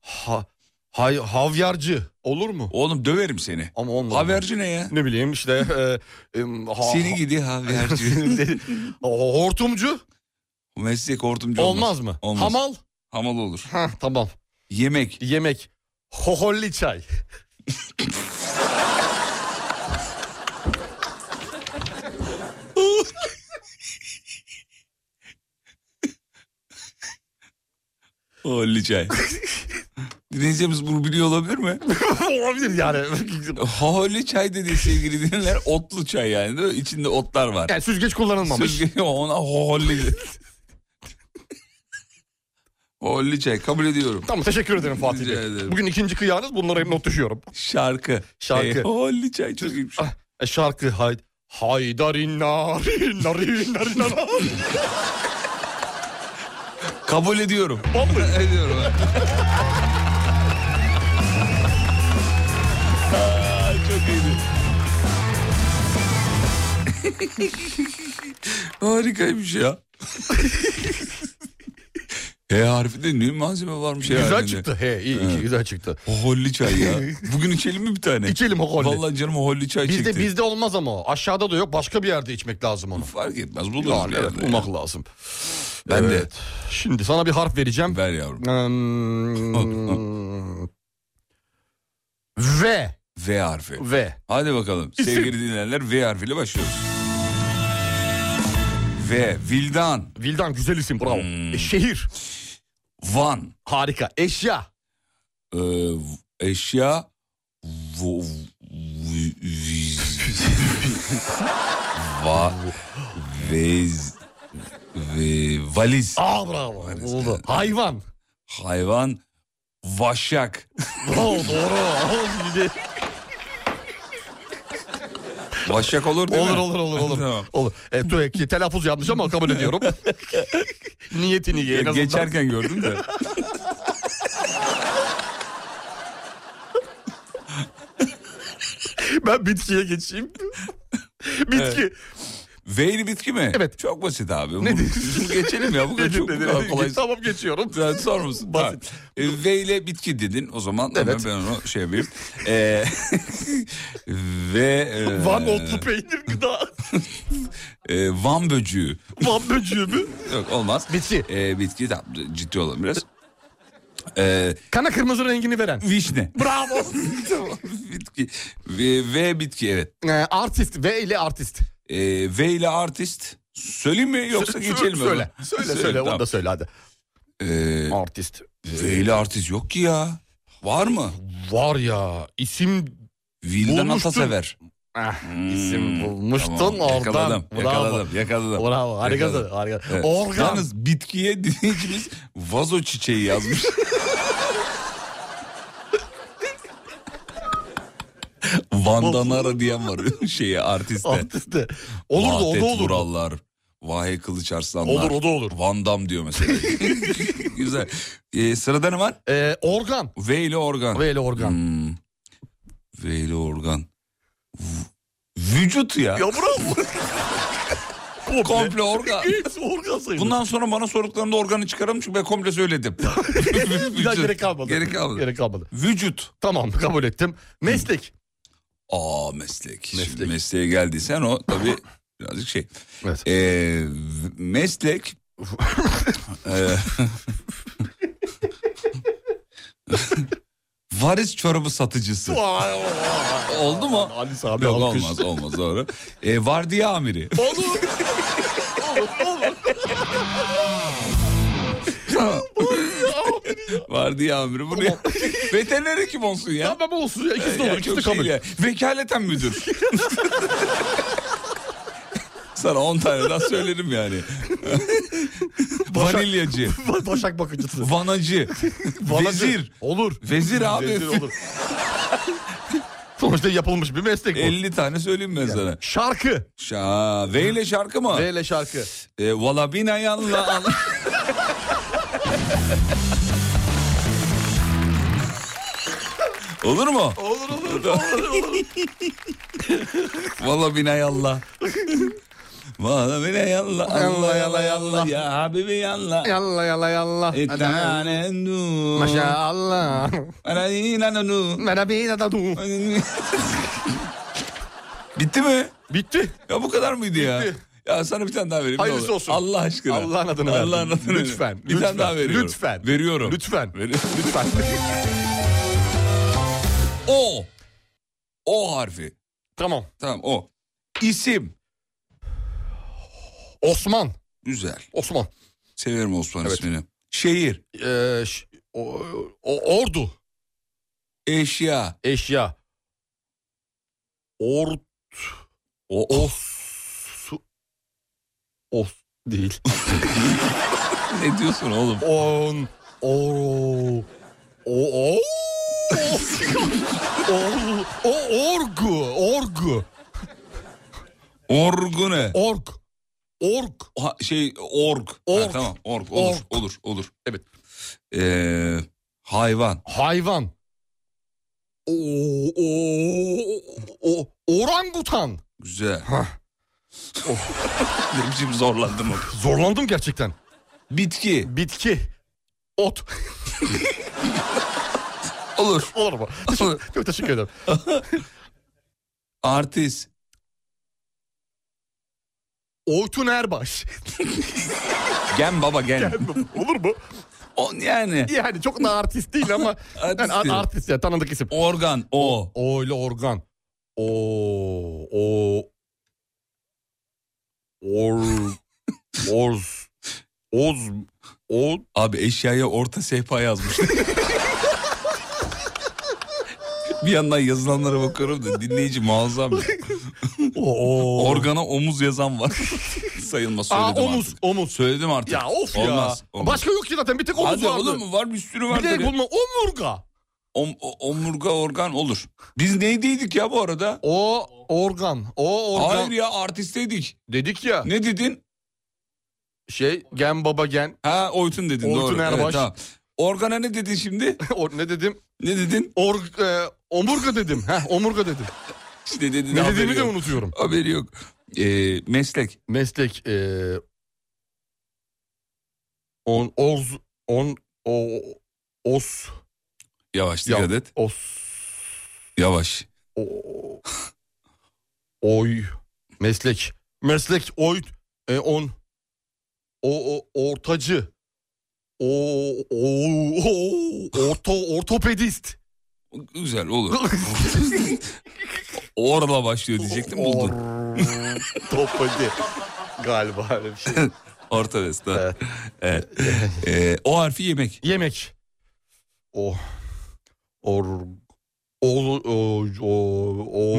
Speaker 5: ha, hay, havyarcı olur mu?
Speaker 4: Oğlum döverim seni.
Speaker 5: Ama olmaz.
Speaker 4: Haberci ne ya?
Speaker 5: Ne bileyim işte. eee, em, ha-
Speaker 4: Seni gidi haberci.
Speaker 5: Hortumcu
Speaker 4: Meslek hortumcu olmaz.
Speaker 5: olmaz mı?
Speaker 4: Olmaz.
Speaker 5: Hamal.
Speaker 4: Hamal olur.
Speaker 5: Hah, tamam.
Speaker 4: Yemek.
Speaker 5: Yemek. Hoholli çay.
Speaker 4: Holy çay. Dinleyicimiz bunu biliyor olabilir mi?
Speaker 5: Olabilir yani.
Speaker 4: Holy çay dediği sevgili dinleyenler otlu çay yani değil mi? İçinde otlar var.
Speaker 5: yani süzgeç kullanılmamış.
Speaker 4: Söz geliyor ona holy. Holli çay kabul ediyorum.
Speaker 5: Tamam teşekkür ederim Fatih
Speaker 4: Rica ederim.
Speaker 5: Bey. Bugün ikinci kıyağınız bunlara hep not düşüyorum.
Speaker 4: Şarkı. E,
Speaker 5: Şarkı.
Speaker 4: Hey, holli çay çok iyiymiş.
Speaker 5: E, şarkı hay Haydarin narin narin narin narin.
Speaker 4: Kabul ediyorum.
Speaker 5: Vallahi.
Speaker 4: ediyorum. Aa, çok iyiydi. Harikaymış ya. e harfinde ne malzeme varmış ya.
Speaker 5: Güzel
Speaker 4: halinde.
Speaker 5: çıktı. He iyi, iyi, güzel çıktı.
Speaker 4: Holli çay ya. Bugün içelim mi bir tane?
Speaker 5: İçelim o golü.
Speaker 4: Vallahi canım holli çay
Speaker 5: Bizde
Speaker 4: çekti.
Speaker 5: bizde olmaz ama o. Aşağıda da yok. Başka bir yerde içmek lazım onu.
Speaker 4: Fark etmez buluruz
Speaker 5: Yani
Speaker 4: bir
Speaker 5: evet,
Speaker 4: yerde.
Speaker 5: bulmak lazım.
Speaker 4: Ben de.
Speaker 5: Evet. Şimdi sana bir harf vereceğim.
Speaker 4: Ver yavrum.
Speaker 5: Hmm. v.
Speaker 4: V harfi.
Speaker 5: V.
Speaker 4: Hadi bakalım sevgili dinleyenler V harfiyle başlıyoruz. V, Vildan,
Speaker 5: Vildan güzel isim bravo.
Speaker 4: Hmm.
Speaker 5: E, şehir.
Speaker 4: Van,
Speaker 5: Harika. Eşya.
Speaker 4: e, eşya, vo- v- v- va, vez, ve, valiz,
Speaker 5: Aa bravo. Oldu. Hayvan.
Speaker 4: hayvan, vaşak,
Speaker 5: Bravo doğru. Al, bildi.
Speaker 4: vaşak olur değil
Speaker 5: olur
Speaker 4: mi?
Speaker 5: olur olur olur.
Speaker 4: Tamam.
Speaker 5: olur. E, tu- ki telaffuz yanlış ama kabul ediyorum. Niyetini ye en azından.
Speaker 4: Geçerken gördüm de.
Speaker 5: Ben bitkiye geçeyim. Bitki.
Speaker 4: V'li bitki mi?
Speaker 5: Evet.
Speaker 4: Çok basit abi. Bunu-
Speaker 5: Nedir?
Speaker 4: bunu geçelim ya. Bu kadar
Speaker 5: Nedir,
Speaker 4: çok bu
Speaker 5: nedir?
Speaker 4: kadar kolay.
Speaker 5: Tamam geçiyorum.
Speaker 4: Sen sormuşsun.
Speaker 5: Basit.
Speaker 4: Ha. E, V ile bitki dedin o zaman.
Speaker 5: Evet.
Speaker 4: Evet. Ben onu şey yapayım. E, ve... e,
Speaker 5: Van otlu peynir gıda.
Speaker 4: e, Van böcüğü.
Speaker 5: Van böceği mi?
Speaker 4: Yok olmaz.
Speaker 5: Bitki.
Speaker 4: E, bitki tamam ciddi olalım biraz. E,
Speaker 5: Kana kırmızı rengini veren.
Speaker 4: vişne.
Speaker 5: Bravo.
Speaker 4: bitki. V, v bitki evet.
Speaker 5: Ee, artist. V ile artist.
Speaker 4: E, v ile artist. Söyleyeyim mi yoksa
Speaker 5: Sö-
Speaker 4: geçelim mi?
Speaker 5: Söyle. Söyle söyle.
Speaker 4: tamam.
Speaker 5: Onu da söyle hadi.
Speaker 4: E,
Speaker 5: Artist.
Speaker 4: v ile artist yok ki ya. Var mı?
Speaker 5: Var ya isim
Speaker 4: Vildan
Speaker 5: Bulmuştum.
Speaker 4: Atasever.
Speaker 5: Ah,
Speaker 4: Hmm,
Speaker 5: isim bulmuştun
Speaker 4: tamam.
Speaker 5: oradan.
Speaker 4: Yakaladım,
Speaker 5: Bravo.
Speaker 4: yakaladım, yakaladım.
Speaker 5: Bravo harikasın.
Speaker 4: Yakaladım.
Speaker 5: harikasın.
Speaker 4: Evet.
Speaker 5: Organ.
Speaker 4: Yalnız bitkiye dinleyicimiz vazo çiçeği yazmış. Vandanara diyen var şeye artiste.
Speaker 5: Artiste. Olur da o
Speaker 4: Vahdet
Speaker 5: da olur.
Speaker 4: Vurallar, Vahe Kılıç Arslanlar.
Speaker 5: Olur o da olur.
Speaker 4: Van Dam diyor mesela. Güzel. Ee, sırada ne var?
Speaker 5: Ee, organ.
Speaker 4: V ile organ.
Speaker 5: V ile organ.
Speaker 4: Hmm. V ile organ. V- Vücut ya.
Speaker 5: Ya bravo. Komple.
Speaker 4: Komple organ.
Speaker 5: Hepsi organ sayılır.
Speaker 4: Bundan sonra bana sorduklarında organı çıkaralım çünkü ben komple söyledim.
Speaker 5: bir daha
Speaker 4: Vücut.
Speaker 5: gerek kalmadı.
Speaker 4: Gerek kalmadı.
Speaker 5: Gerek kalmadı.
Speaker 4: Vücut.
Speaker 5: Tamam kabul ettim. Meslek.
Speaker 4: Aa meslek. Şimdi
Speaker 5: Meslek.
Speaker 4: mesleğe geldiysen o tabii birazcık şey.
Speaker 5: Evet.
Speaker 4: Ee, v- meslek. Ee, Varis çorabı satıcısı.
Speaker 5: Vay, vay, vay.
Speaker 4: Oldu mu?
Speaker 5: Ali Sami
Speaker 4: Yok
Speaker 5: alkış.
Speaker 4: olmaz olmaz doğru. Ee, vardiya amiri.
Speaker 5: Olur. olur olur.
Speaker 4: vardiya amiri. Bunu veteriner hekim olsun ya.
Speaker 5: Tamam olsun ya. İkisi de
Speaker 4: Ya
Speaker 5: olur. İkisi de
Speaker 4: çok
Speaker 5: kabul.
Speaker 4: şey ya. Vekaleten müdür. Sana 10 tane daha söylerim yani. Vanilyacı,
Speaker 5: Başak bakıcısı.
Speaker 4: vanacı, vezir.
Speaker 5: Olur.
Speaker 4: Vezir abi.
Speaker 5: Vezir olur. Sonuçta yapılmış bir meslek bu.
Speaker 4: 50 tane söyleyeyim ben sana.
Speaker 5: Şarkı.
Speaker 4: Şa, V ile şarkı mı?
Speaker 5: V ile şarkı.
Speaker 4: E, Valla bina yanla al. Olur mu?
Speaker 5: Olur olur. olur, olur.
Speaker 4: Valla bina yalla. Valla bina yalla. Allah yalla yalla. Ya habibi E, yalla.
Speaker 5: yalla yalla yalla.
Speaker 4: İttanendu.
Speaker 5: Maşallah.
Speaker 4: Aradinanunu.
Speaker 5: Merhaba da du.
Speaker 4: Bitti mi?
Speaker 5: Bitti.
Speaker 4: Ya bu kadar mıydı ya? Ya sana bir tane daha vereyim. ne
Speaker 5: Hayırlısı
Speaker 4: olur.
Speaker 5: olsun.
Speaker 4: Allah aşkına.
Speaker 5: Allah'ın adını verdim.
Speaker 4: Allah'ın adını verdim.
Speaker 5: Lütfen,
Speaker 4: Bir
Speaker 5: lütfen,
Speaker 4: tane daha veriyorum.
Speaker 5: lütfen.
Speaker 4: Veriyorum.
Speaker 5: Lütfen.
Speaker 4: Veriyorum.
Speaker 5: Lütfen.
Speaker 4: O. O harfi.
Speaker 5: tamam.
Speaker 4: Tamam o. İsim.
Speaker 5: Osman.
Speaker 4: Güzel.
Speaker 5: Osman.
Speaker 4: Severim Osman
Speaker 5: Evet.
Speaker 4: ismini. Şehir.
Speaker 5: Ee, ş- o, o- ordu.
Speaker 4: Eşya.
Speaker 5: Eşya. Ort.
Speaker 4: O.
Speaker 5: Os. Os değil.
Speaker 4: Ne diyorsun oğlum?
Speaker 5: On. Oo. O o. Or- o orgu, orgu,
Speaker 4: Orgu ne?
Speaker 5: org, org.
Speaker 4: Ha, şey org. Ha,
Speaker 5: Org.
Speaker 4: tamam org olur
Speaker 5: Org.
Speaker 4: olur olur. Evet. Ee, hayvan.
Speaker 5: Hayvan. O o o orangutan.
Speaker 4: Güzel.
Speaker 5: Hah.
Speaker 4: Ne biçim zorlandım. orada.
Speaker 5: Zorlandım gerçekten.
Speaker 4: Bitki.
Speaker 5: Bitki. Ot.
Speaker 4: Olur.
Speaker 5: Olur mu?
Speaker 4: Olur.
Speaker 5: Çok teşekkür ederim.
Speaker 4: Artist.
Speaker 5: Oytun Erbaş.
Speaker 4: Gem baba gem.
Speaker 5: Olur mu?
Speaker 4: O, yani.
Speaker 5: Yani çok da artist değil ama
Speaker 4: Artist
Speaker 5: yani
Speaker 4: değil.
Speaker 5: a- artist ya tanıdık isim.
Speaker 4: Organ. O.
Speaker 5: O ile organ. O o or orz oz o
Speaker 4: Abi eşyaya orta sehpa yazmış. bir yandan yazılanlara bakıyorum da dinleyici muazzam.
Speaker 5: o
Speaker 4: Organa omuz yazan var. Sayılmaz
Speaker 5: Aa,
Speaker 4: söyledim
Speaker 5: omuz
Speaker 4: artık.
Speaker 5: omuz.
Speaker 4: Söyledim artık.
Speaker 5: Ya of ya.
Speaker 4: olmaz, Olmaz.
Speaker 5: Başka yok ki zaten bir tek omuz
Speaker 4: Hadi
Speaker 5: vardı.
Speaker 4: olur mu? Var bir sürü var
Speaker 5: Bir de
Speaker 4: tabii.
Speaker 5: bununla omurga.
Speaker 4: Om- o- omurga organ olur. Biz neydiydik ya bu arada?
Speaker 5: O organ. O organ.
Speaker 4: Hayır ya artisteydik.
Speaker 5: Dedik ya.
Speaker 4: Ne dedin?
Speaker 5: Şey gen baba gen.
Speaker 4: Ha Oytun dedin
Speaker 5: Oytun
Speaker 4: doğru.
Speaker 5: Erbaş.
Speaker 4: tamam. Organa ne dedin şimdi?
Speaker 5: O- ne dedim?
Speaker 4: Ne dedin?
Speaker 5: Org, e, omurga dedim. Heh, omurga dedim.
Speaker 4: İşte dedin
Speaker 5: ne
Speaker 4: haberi
Speaker 5: dediğimi de
Speaker 4: yok.
Speaker 5: unutuyorum.
Speaker 4: Haberi yok. Ee, meslek.
Speaker 5: Meslek e, on oz on o os
Speaker 4: Yavaş
Speaker 5: ya-
Speaker 4: dikkat et.
Speaker 5: os
Speaker 4: Yavaş.
Speaker 5: o, oy meslek meslek oy e, on o, o ortacı o, o, o orto ortopedist
Speaker 4: Güzel olur. Orla başlıyor diyecektim buldun.
Speaker 5: ortopedi galiba öyle bir şey
Speaker 4: Orta vesta.
Speaker 5: Evet.
Speaker 4: Evet. Ee, o harfi yemek.
Speaker 5: Yemek. O. Or. O. O. O.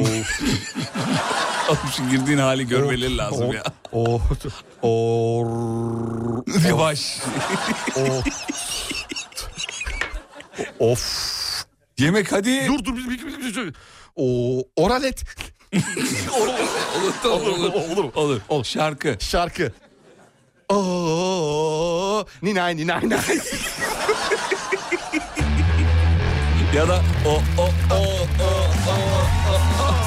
Speaker 5: O.
Speaker 4: Şu girdiğin hali görmeleri lazım
Speaker 5: o-
Speaker 4: ya.
Speaker 5: O. Or.
Speaker 4: Yavaş.
Speaker 5: O. Of.
Speaker 4: Yemek hadi.
Speaker 5: Dur dur. bir- bir- bir- bir- bir- O. Oral et.
Speaker 4: Olur tamam
Speaker 5: Olur,
Speaker 4: olur.
Speaker 5: olur, olur.
Speaker 4: Olur. Şarkı.
Speaker 5: Şarkı. Oo. Ninay ninay ninay.
Speaker 4: Ya da o o o o o.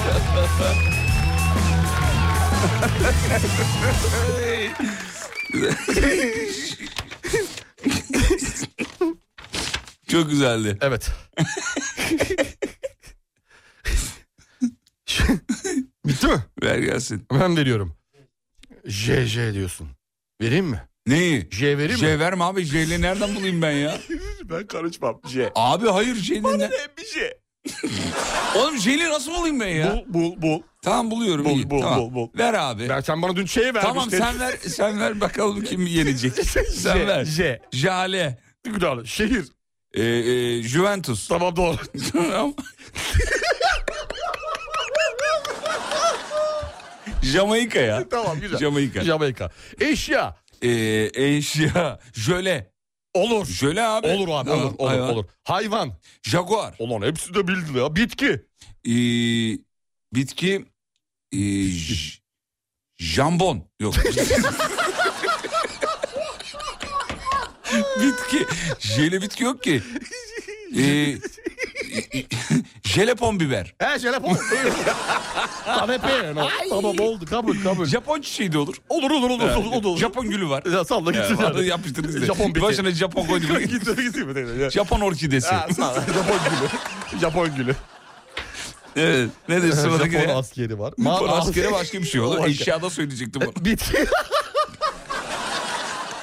Speaker 4: Çok güzeldi.
Speaker 5: Evet. Bitti mi?
Speaker 4: Ver gelsin.
Speaker 5: Ben veriyorum. J J diyorsun. Vereyim mi?
Speaker 4: Neyi?
Speaker 5: J vereyim mi?
Speaker 4: J verme abi. J'li nereden bulayım ben ya?
Speaker 5: Ben karışmam. J.
Speaker 4: Abi hayır J'li ne?
Speaker 5: Bir J.
Speaker 4: Oğlum J'li nasıl bulayım ben ya?
Speaker 5: Bul bul bul.
Speaker 4: Tamam buluyorum.
Speaker 5: Bul,
Speaker 4: iyi,
Speaker 5: bul,
Speaker 4: tamam.
Speaker 5: bul, bul.
Speaker 4: Ver abi.
Speaker 5: Ben sen bana dün şey vermiştin.
Speaker 4: tamam sen ver sen ver bakalım kim yenecek. sen
Speaker 5: J,
Speaker 4: ver.
Speaker 5: J.
Speaker 4: Jale.
Speaker 5: Güzel. Şehir.
Speaker 4: Ee, e, Juventus.
Speaker 5: Tamam doğru.
Speaker 4: Tamam. Jamaika ya.
Speaker 5: tamam güzel.
Speaker 4: Jamaika.
Speaker 5: Jamaika. Eşya.
Speaker 4: Ee, eşya. Jöle.
Speaker 5: Olur.
Speaker 4: Jöle abi.
Speaker 5: Olur abi
Speaker 4: Tamam,
Speaker 5: olur olur
Speaker 4: hayvan.
Speaker 5: olur. Hayvan.
Speaker 4: Jaguar.
Speaker 5: Ulan hepsi de bildi ya. Bitki.
Speaker 4: Ee, bitki. Ee, j- jambon. Yok. bitki. Jeli bitki yok ki. Ee, jelepon biber.
Speaker 5: He telefon. Kanepe. no. Tamam oldu kabul kabul.
Speaker 4: Japon çiçeği de olur.
Speaker 5: Olur olur olur olur olur. olur.
Speaker 4: Japon gülü var.
Speaker 5: Ya salla gitsin.
Speaker 4: Ya,
Speaker 5: yani.
Speaker 4: yapıştırdınız da.
Speaker 5: Japon
Speaker 4: Japon
Speaker 5: bitki.
Speaker 4: Başına Japon koyduk.
Speaker 5: Gitsin gitsin. mi?
Speaker 4: Japon orkidesi.
Speaker 5: Ha, sağ ol. Japon gülü. Japon gülü.
Speaker 4: evet. Ne de sıradaki
Speaker 5: Japon
Speaker 4: ne?
Speaker 5: askeri var.
Speaker 4: Japon
Speaker 5: Ma-
Speaker 4: askere başka bir şey
Speaker 5: O
Speaker 4: olur.
Speaker 5: başka.
Speaker 4: Eşyada söyleyecektim bunu.
Speaker 5: Bitki.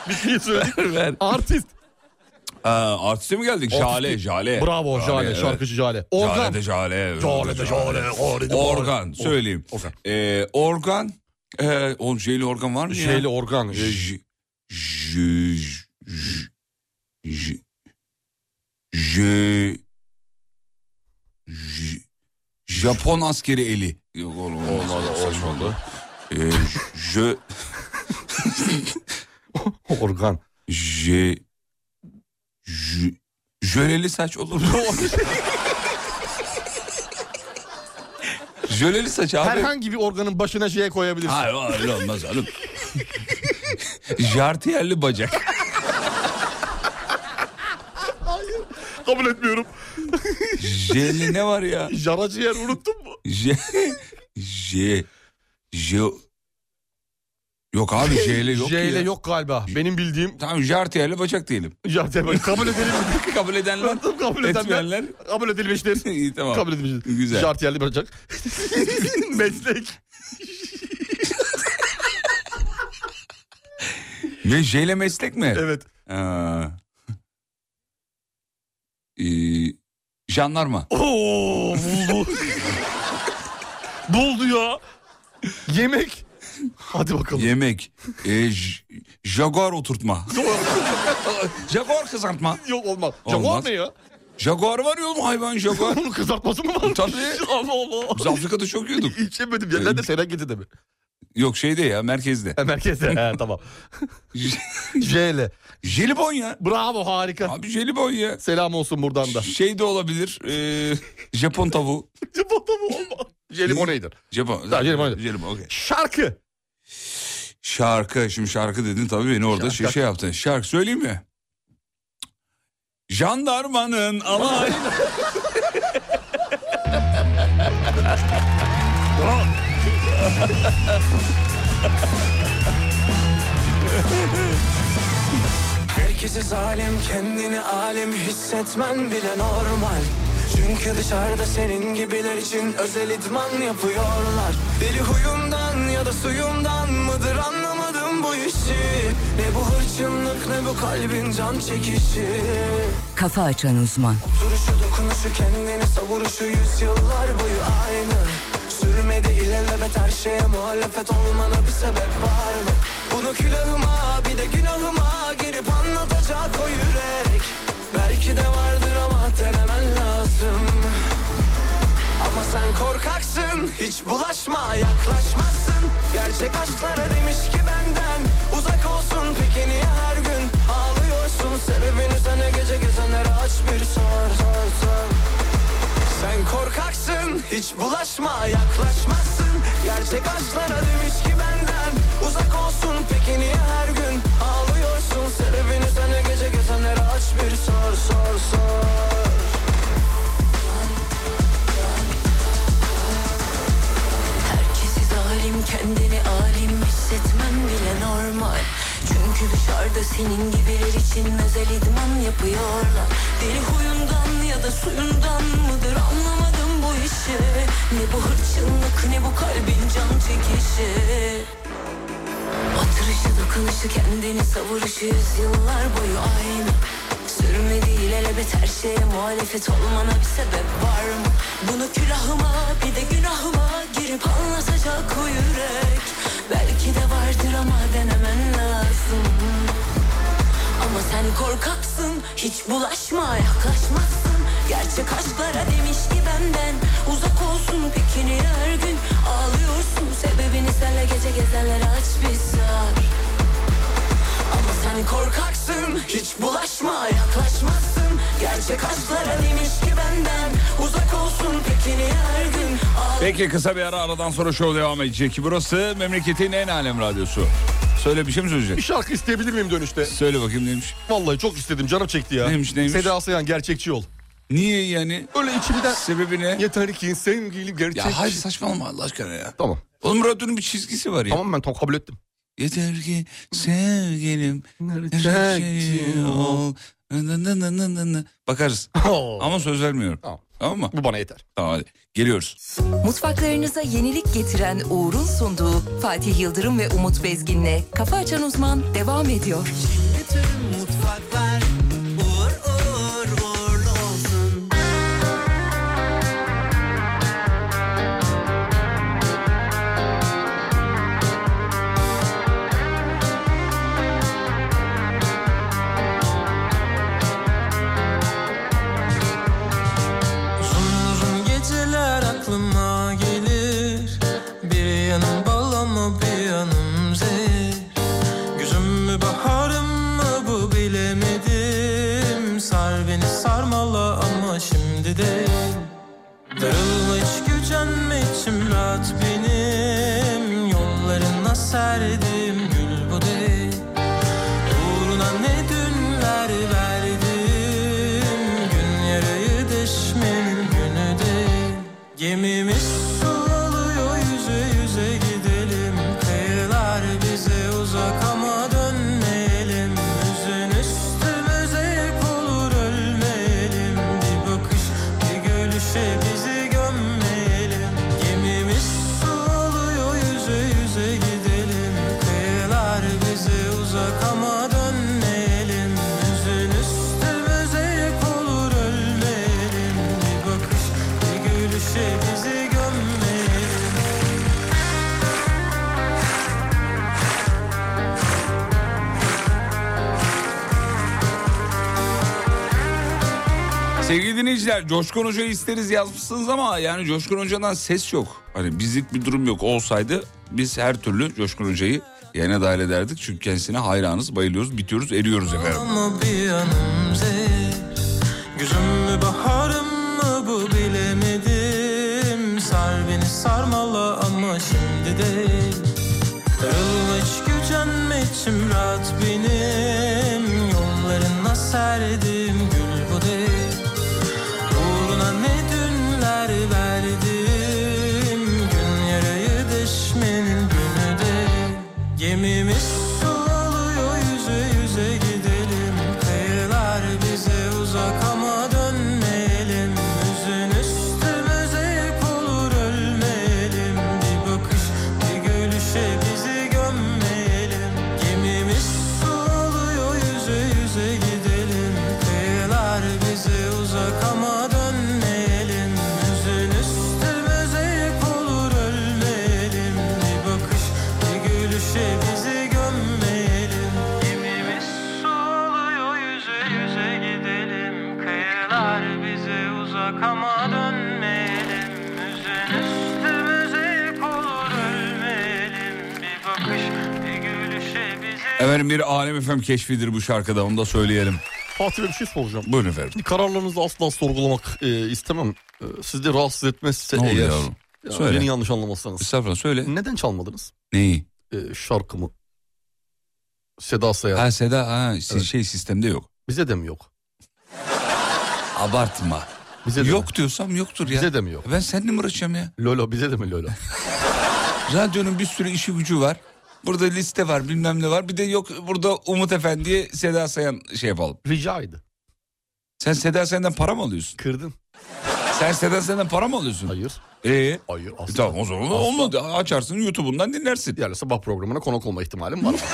Speaker 5: Bitkiyi söyledik.
Speaker 4: Ver.
Speaker 5: Artist.
Speaker 4: Aa, artiste mi geldik? Jale, Jale.
Speaker 5: Bravo Jale,
Speaker 4: evet.
Speaker 5: şarkıcı Jale.
Speaker 4: Jale
Speaker 5: Organ.
Speaker 4: de Jale.
Speaker 5: Jale de Jale. Jale de
Speaker 4: Organ söyleyeyim.
Speaker 5: Organ.
Speaker 4: Ee, organ. Ee, oğlum jeli organ var mı ya?
Speaker 5: Şeyli organ.
Speaker 4: J- j- j- j- j- j- j- Japon askeri eli. Yok oğlum olmaz olmadı. Ee, j
Speaker 5: Organ.
Speaker 4: j Jü- jöleli saç olur mu? jöleli saç abi.
Speaker 5: Herhangi bir organın başına şeye koyabilirsin.
Speaker 4: Hayır o öyle olmaz oğlum. Jartiyerli bacak.
Speaker 5: Kabul etmiyorum.
Speaker 4: Jeli ne var ya?
Speaker 5: Jaraciğer unuttun mu?
Speaker 4: J... J... J... Yok abi J'li yok
Speaker 5: J ile
Speaker 4: ya.
Speaker 5: yok galiba. Benim bildiğim
Speaker 4: Tamam jartiyerli bacak diyelim.
Speaker 5: Jartiyer bacak. Kabul edelim mi?
Speaker 4: Kabul edenler.
Speaker 5: Kabul
Speaker 4: Etmeyenler.
Speaker 5: edenler. Kabul edilmiştir.
Speaker 4: İyi tamam.
Speaker 5: Kabul edilmiştir.
Speaker 4: Güzel.
Speaker 5: Jartiyerli bacak. Meslek.
Speaker 4: Ve J'le meslek mi?
Speaker 5: Evet.
Speaker 4: Ha. Ee, jandarma.
Speaker 5: Oo buldu. buldu ya. Yemek. Hadi bakalım.
Speaker 4: Yemek. Ee, j- jaguar oturtma. jaguar kızartma.
Speaker 5: Yok olmaz.
Speaker 4: Olmaz.
Speaker 5: Jaguar ne ya?
Speaker 4: Jaguar var ya oğlum hayvan jaguar.
Speaker 5: Onun kızartması mı var?
Speaker 4: Tabii.
Speaker 5: Allah Allah.
Speaker 4: Biz Afrika'da çok yiyorduk.
Speaker 5: Hiç yemedim ya. Nerede Serengeti'de mi?
Speaker 4: Yok şeyde ya merkezde.
Speaker 5: Ha, merkezde. He tamam.
Speaker 4: J-
Speaker 5: J ile.
Speaker 4: jelibon ya.
Speaker 5: Bravo harika.
Speaker 4: Abi jelibon ya.
Speaker 5: Selam olsun buradan da.
Speaker 4: Şey de olabilir. ee, Japon tavuğu.
Speaker 5: Japon'da mı olmaz? Jelibon iyidir.
Speaker 4: Japon.
Speaker 5: Ha, jelibon.
Speaker 4: Jelibon okey.
Speaker 5: Şarkı.
Speaker 4: Şarkı. Şimdi şarkı dedin tabii beni orada şey,
Speaker 5: Şarkı.
Speaker 4: şey yaptın. Şarkı söyleyeyim mi? Jandarmanın alay.
Speaker 13: Herkese zalim kendini alim hissetmen bile normal Çünkü dışarıda senin gibiler için özel idman yapıyorlar Deli huyumdan ya da suyumdan mıdır anlamadım bu işi Ne bu hırçınlık ne bu kalbin can çekişi
Speaker 1: Kafa Açan Uzman.
Speaker 13: Duruşu dokunuşu kendini savuruşu yüzyıllar boyu aynı Sürmedi ilerlebet her şeye muhalefet olmana bir sebep var mı? Bunu külahıma bir de günahıma girip anlatacak o yürek Belki de vardır ama denemen lazım Ama sen korkaksın hiç bulaşma yaklaşmazsın Gerçek aşklara demiş ki benden uzak olsun peki niye her gün ağlıyorsun Sebebini sana gece gezenlere aç bir sor sor sor sen korkaksın, hiç bulaşma, yaklaşmazsın Gerçek aşklara demiş ki benden Uzak olsun, peki niye her gün ağlıyorsun Sebebini sana gece gezenlere aç bir sor, sor, sor
Speaker 14: Herkesi zalim kendini alim hissetmen bile normal Çünkü dışarıda senin gibiler için özel idman yapıyorlar Deli huyundan ya da suyundan mıdır anlamadım bu işi Ne bu hırçınlık ne bu kalbin can çekişi Oturuşu dokunuşu kendini savuruşu yıllar boyu aynı Sürmedi ilelebet her şeye şey, muhalefet olmana bir sebep var mı? Bunu külahıma bir de günahıma girip anlatacak o yürek Belki de vardır ama denemen lazım ama sen korkaksın Hiç bulaşma yaklaşmazsın Gerçek aşklara demiş ki benden Uzak olsun peki niye her gün Ağlıyorsun sebebini senle gece gezenlere aç bir sar Ama sen korkaksın Hiç bulaşma yaklaşmazsın Gerçek aşklara demiş ki benden Uzak olsun peki niye her gün Ağlıyorsun
Speaker 4: Peki kısa bir ara aradan sonra show devam edecek. Burası memleketin en alem radyosu. Söyle bir şey mi
Speaker 5: Bir
Speaker 4: söyleyeceksin?
Speaker 5: şarkı isteyebilir miyim dönüşte?
Speaker 4: Söyle bakayım neymiş.
Speaker 5: Vallahi çok istedim. Canım çekti ya.
Speaker 4: Neymiş, neymiş?
Speaker 5: Seda Sayan gerçekçi ol.
Speaker 4: Niye yani?
Speaker 5: Öyle içimden
Speaker 4: Sebebi ne?
Speaker 5: yeter ki sevgilim gerçekçi.
Speaker 4: Ya hayır saçmalama Allah aşkına ya.
Speaker 5: Tamam.
Speaker 4: Oğlum radyonun bir çizgisi var ya.
Speaker 5: Tamam ben tam kabul ettim.
Speaker 4: Yeter ki sevgilim her şey
Speaker 5: Gerçekçi ol.
Speaker 4: ol. Nı nı nı nı nı nı. Bakarız. Ama söz vermiyorum.
Speaker 5: Tamam.
Speaker 4: Tamam mı?
Speaker 5: Bu bana yeter.
Speaker 4: Tamam hadi. Geliyoruz.
Speaker 1: Mutfaklarınıza yenilik getiren Uğur'un sunduğu Fatih Yıldırım ve Umut Bezgin'le Kafa Açan Uzman devam ediyor.
Speaker 13: Bütün mutfaklar uğur uğur uğurlu olsun. Uzun uzun geceler aklıma gelir Bir yanım bal ama bir yanım zehir Gözüm mü baharım mı bu bilemedim
Speaker 10: verdim gül bu değil Uğruna ne dünler verdim Gün yarayı düşmenin günü değil Gemimiz sulanıyor yüze yüze gidelim Kıyılar bize uzak ama dönmeyelim Üzün üstümüze yük olur ölmeyelim Bir bakış bir gülüşe bizi gömmeyelim Gemimiz sulanıyor yüze yüze gidelim Kıyılar bize uzak ama dönmeyelim Üzün üstümüze yük olur ölmeyelim Bir bakış bir gülüşe bizi gömmeyelim
Speaker 4: Sevgili dinleyiciler Coşkun Hoca'yı isteriz yazmışsınız ama yani Coşkun Hoca'dan ses yok. Hani bizlik bir durum yok olsaydı biz her türlü Coşkun Hoca'yı yayına dahil ederdik. Çünkü kendisine hayranız, bayılıyoruz, bitiyoruz, eriyoruz efendim.
Speaker 10: Ama bir yanım zehir Gözüm mü baharım mı bu bilemedim Sar beni sarmala ama şimdi değil Darılma hiç gücenme içim rahat benim Yollarına serdim gül bu değil Uğruna ne dünler verdim Gün yarayı düşmenin günü değil Gemimiz sulanıyor yüze yüze gidelim Kıyılar bize uzak ama dönmeyelim Üzün üstümüze yük olur ölmeyelim Bir bakış bir gülüşe bizi gömmeyelim Gemimiz sulanıyor yüze yüze gidelim Kıyılar bize uzak ama dönmeyelim Üzün üstümüze yük olur ölmeyelim Bir bakış bir gülüşe bizi gömmeyelim Gemimiz soluyor yüze yüze gidelim Kıyılar bize uzak ama dönmeyelim Üzün üstümüze yük olur ölmeyelim Bir bakış bir gülüşe bizi
Speaker 4: Efendim bir Alem efem keşfidir bu şarkıda onu da söyleyelim.
Speaker 5: Fatih Bey bir şey soracağım.
Speaker 4: Buyurun efendim.
Speaker 5: Şimdi kararlarınızı asla sorgulamak e, istemem. E, sizi de rahatsız etmezse
Speaker 4: Ne oldu
Speaker 5: eğer.
Speaker 4: yavrum?
Speaker 5: Ya,
Speaker 4: Söyle.
Speaker 5: Beni yanlış anlamazsanız.
Speaker 4: Estağfurullah söyle.
Speaker 5: Neden çalmadınız
Speaker 4: Neyi?
Speaker 5: e, şarkımı? Seda Sayan.
Speaker 4: Ha Seda ha si-
Speaker 5: Evet.
Speaker 4: şey sistemde yok.
Speaker 5: Bize de mi yok?
Speaker 4: Abartma.
Speaker 5: Bize de mi?
Speaker 4: Yok diyorsam yoktur ya.
Speaker 5: Bize de mi yok?
Speaker 4: Ben seninle mi uğraşacağım ya?
Speaker 5: Lolo bize de mi Lolo?
Speaker 4: Radyonun bir sürü işi gücü var. Burada liste var bilmem ne var. Bir de yok burada Umut Efendi'ye Seda Sayan şey yapalım.
Speaker 5: Ricaydı.
Speaker 4: Sen Seda Sayan'dan para mı alıyorsun?
Speaker 5: Kırdın.
Speaker 4: Sen Seda Sayan'dan para mı alıyorsun?
Speaker 5: Hayır.
Speaker 4: Ee,
Speaker 5: Hayır
Speaker 4: e
Speaker 5: asla.
Speaker 4: tamam o zaman
Speaker 5: Asla.
Speaker 4: olmadı. Açarsın YouTube'undan dinlersin.
Speaker 5: Yani sabah programına konuk olma ihtimalim var.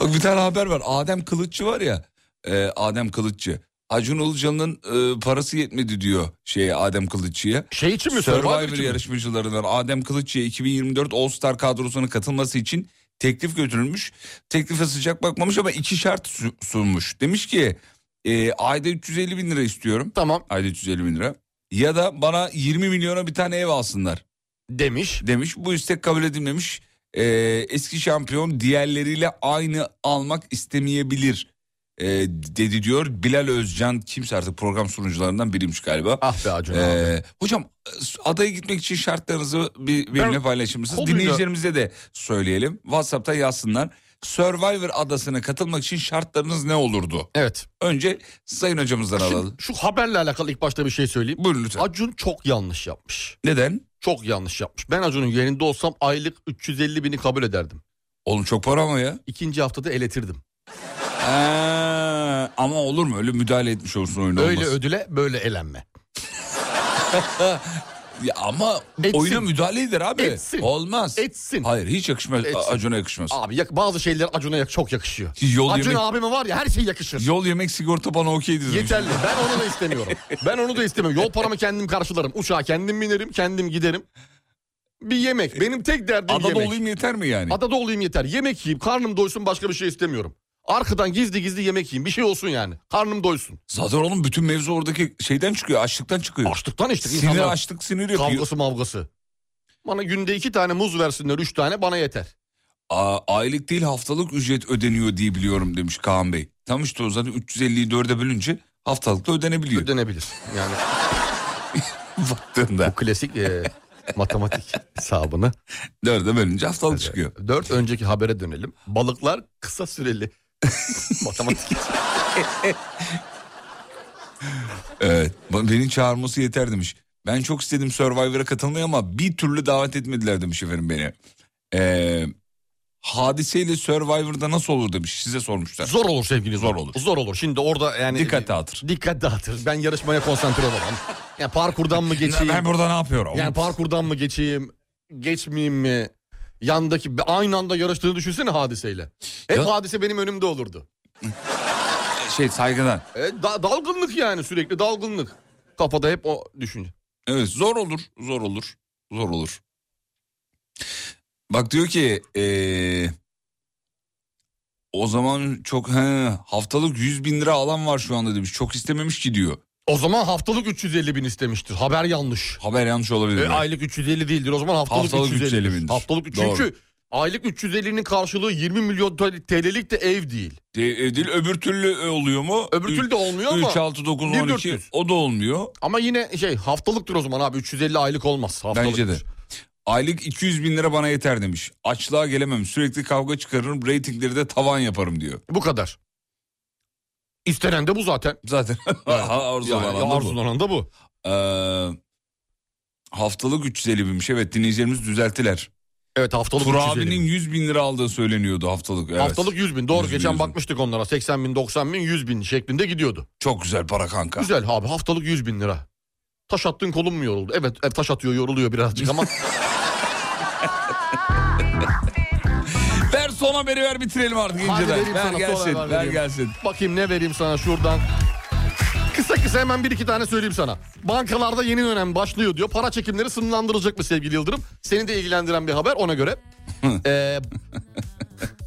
Speaker 4: Bak bir tane haber var. Adem Kılıççı var ya. e, Adem Kılıççı. Acun Ilıcalı'nın e, parası yetmedi diyor şey Adem Kılıççı'ya.
Speaker 5: şey için mi? Survivor
Speaker 4: Survivor
Speaker 5: için mi?
Speaker 4: yarışmacılarından Adem Kılıççı'ya 2024 All Star kadrosuna katılması için teklif götürülmüş. Teklife sıcak bakmamış ama iki şart su- sunmuş. Demiş ki e, ayda 350 bin lira istiyorum.
Speaker 5: Tamam
Speaker 4: Ayda 350 bin lira. Ya da bana 20 milyona bir tane ev alsınlar
Speaker 5: demiş.
Speaker 4: demiş. Bu istek kabul edilmemiş. E, eski şampiyon diğerleriyle aynı almak istemeyebilir e, dedi diyor. Bilal Özcan kimse artık program sunucularından biriymiş galiba.
Speaker 5: Ah be Acun abi.
Speaker 4: Ee, hocam adaya gitmek için şartlarınızı bir benimle paylaşır mısınız?
Speaker 5: konuyla-
Speaker 4: Dinleyicilerimize de söyleyelim. WhatsApp'ta yazsınlar. Survivor adasına katılmak için şartlarınız ne olurdu?
Speaker 5: Evet.
Speaker 4: Önce sayın hocamızdan alalım.
Speaker 5: Şimdi şu haberle alakalı ilk başta bir şey söyleyeyim.
Speaker 4: Buyurun lütfen.
Speaker 5: Acun çok yanlış yapmış.
Speaker 4: Neden?
Speaker 5: Çok yanlış yapmış. Ben Acun'un yerinde olsam aylık 350 bini kabul ederdim.
Speaker 4: Oğlum çok para ama ya.
Speaker 5: İkinci haftada eletirdim.
Speaker 4: Ee, ama olur mu? Öyle müdahale etmiş olsun oyun
Speaker 5: Öyle
Speaker 4: olmaz.
Speaker 5: ödüle böyle elenme.
Speaker 4: Ya ama
Speaker 5: Etsin.
Speaker 4: oyuna müdahale eder abi.
Speaker 5: Etsin.
Speaker 4: Olmaz.
Speaker 5: Etsin.
Speaker 4: Hayır hiç yakışmaz.
Speaker 5: Etsin.
Speaker 4: Acuna yakışmaz.
Speaker 5: Abi yak- bazı şeyler Acun'a yak- çok yakışıyor.
Speaker 4: Yol
Speaker 5: Acun
Speaker 4: yemek,
Speaker 5: abime var ya her şey yakışır.
Speaker 4: yol yemek sigorta bana okey dedi.
Speaker 5: Yeterli. Ben onu da istemiyorum. Ben onu da istemiyorum. Yol paramı kendim karşılarım. Uçağa kendim binerim, kendim giderim. Bir yemek. Benim tek derdim
Speaker 4: Adada
Speaker 5: yemek.
Speaker 4: olayım yeter mi yani?
Speaker 5: Adada olayım yeter. Yemek yiyeyim, karnım doysun başka bir şey istemiyorum. Arkadan gizli gizli yemek yiyeyim. Bir şey olsun yani. Karnım doysun.
Speaker 4: Zaten oğlum bütün mevzu oradaki şeyden çıkıyor, açlıktan çıkıyor.
Speaker 5: Açlıktan işte
Speaker 4: sinir
Speaker 5: insanlar.
Speaker 4: açlık sinir yapıyor.
Speaker 5: Kavgası mavgası. Bana günde iki tane muz versinler, üç tane bana yeter.
Speaker 4: Aa, aylık değil haftalık ücret ödeniyor diye biliyorum demiş Kaan Bey. Tam işte o zaten 350'yi 4'e bölünce haftalık da ödenebiliyor.
Speaker 5: Ödenebilir. Yani
Speaker 4: Baktığında.
Speaker 5: bu klasik e, matematik hesabını.
Speaker 4: Dörde bölünce haftalık çıkıyor.
Speaker 5: Dört önceki habere dönelim. Balıklar kısa süreli. matematik.
Speaker 4: Evet. ba- Beni çağırması yeter demiş. Ben çok istedim Survivor'a katılmayı ama bir türlü davet etmediler demiş efendim beni. Ee, hadiseyle Survivor'da nasıl olur demiş. Size sormuşlar.
Speaker 5: Zor olur sevgili
Speaker 4: Zor olur.
Speaker 5: Zor olur. Şimdi orada yani...
Speaker 4: Dikkat dağıtır.
Speaker 5: Dikkat dağıtır. Ben yarışmaya konsantre olamam. Yani parkurdan mı geçeyim?
Speaker 4: Ben burada ne yapıyorum?
Speaker 5: Yani parkurdan mı geçeyim? Geçmeyeyim mi? Yandaki aynı anda yarıştığını düşünsene hadiseyle. Hep
Speaker 4: Ya-
Speaker 5: hadise benim önümde olurdu.
Speaker 4: Şey saygıdan.
Speaker 5: E, da- dalgınlık yani sürekli dalgınlık. Kafada hep o düşünce.
Speaker 4: Evet zor olur. Zor olur. Zor olur. Bak diyor ki ee, o zaman çok he, haftalık 100 bin lira alan var şu anda demiş. Çok istememiş ki diyor.
Speaker 5: O zaman haftalık 350 bin istemiştir. Haber yanlış.
Speaker 4: Haber yanlış
Speaker 5: E,
Speaker 4: olabilir.
Speaker 5: aylık 350 değildir. O zaman haftalık,
Speaker 4: Haftalık
Speaker 5: 350.
Speaker 4: 350
Speaker 5: 'dir.
Speaker 4: bindir.
Speaker 5: Haftalık üç-
Speaker 4: Doğru.
Speaker 5: Çünkü aylık 350'nin karşılığı 20 milyon TL'lik de ev değil.
Speaker 4: De- e, Dil öbür türlü e, oluyor mu?
Speaker 5: Öbür türlü de olmuyor ama.
Speaker 4: 3, 6, 9, 12
Speaker 5: 1400.
Speaker 4: o da olmuyor.
Speaker 5: Ama yine şey haftalıktır o zaman abi 350 aylık olmaz. Haftalık.
Speaker 4: Bence de. Aylık 200 bin lira bana yeter demiş. Açlığa gelemem sürekli kavga çıkarırım reytingleri de tavan yaparım diyor.
Speaker 5: Bu kadar. İstenen de bu zaten.
Speaker 4: Zaten Ha, arzulanan
Speaker 5: Yani
Speaker 4: da bu.
Speaker 5: arzulanan da bu.
Speaker 4: Ee, haftalık 350 binmiş evet dinleyicilerimiz düzelttiler.
Speaker 5: Evet haftalık
Speaker 4: Tur
Speaker 5: 350
Speaker 4: abinin
Speaker 5: bin.
Speaker 4: 100 bin lira aldığı söyleniyordu haftalık. Evet.
Speaker 5: Haftalık 100 bin. Doğru
Speaker 4: 100 bin,
Speaker 5: geçen
Speaker 4: 100 bin.
Speaker 5: bakmıştık onlara. 80 bin, 90 bin, 100 bin şeklinde gidiyordu.
Speaker 4: Çok güzel para kanka.
Speaker 5: Güzel abi haftalık 100 bin lira. Taş attın kolun mu yoruldu? Evet e, taş atıyor yoruluyor birazcık ama.
Speaker 4: Ver son haberi ver bitirelim artık
Speaker 5: Hadi
Speaker 4: inceden.
Speaker 5: vereyim sana
Speaker 4: Ver
Speaker 5: son
Speaker 4: gelsin
Speaker 5: haber
Speaker 4: ver
Speaker 5: vereyim.
Speaker 4: gelsin.
Speaker 5: Bakayım ne vereyim sana şuradan. Kısa kısa hemen bir iki tane söyleyeyim sana. Bankalarda yeni dönem başlıyor diyor. Para çekimleri sınırlandırılacak mı sevgili Yıldırım? Seni de ilgilendiren bir haber ona göre. ee,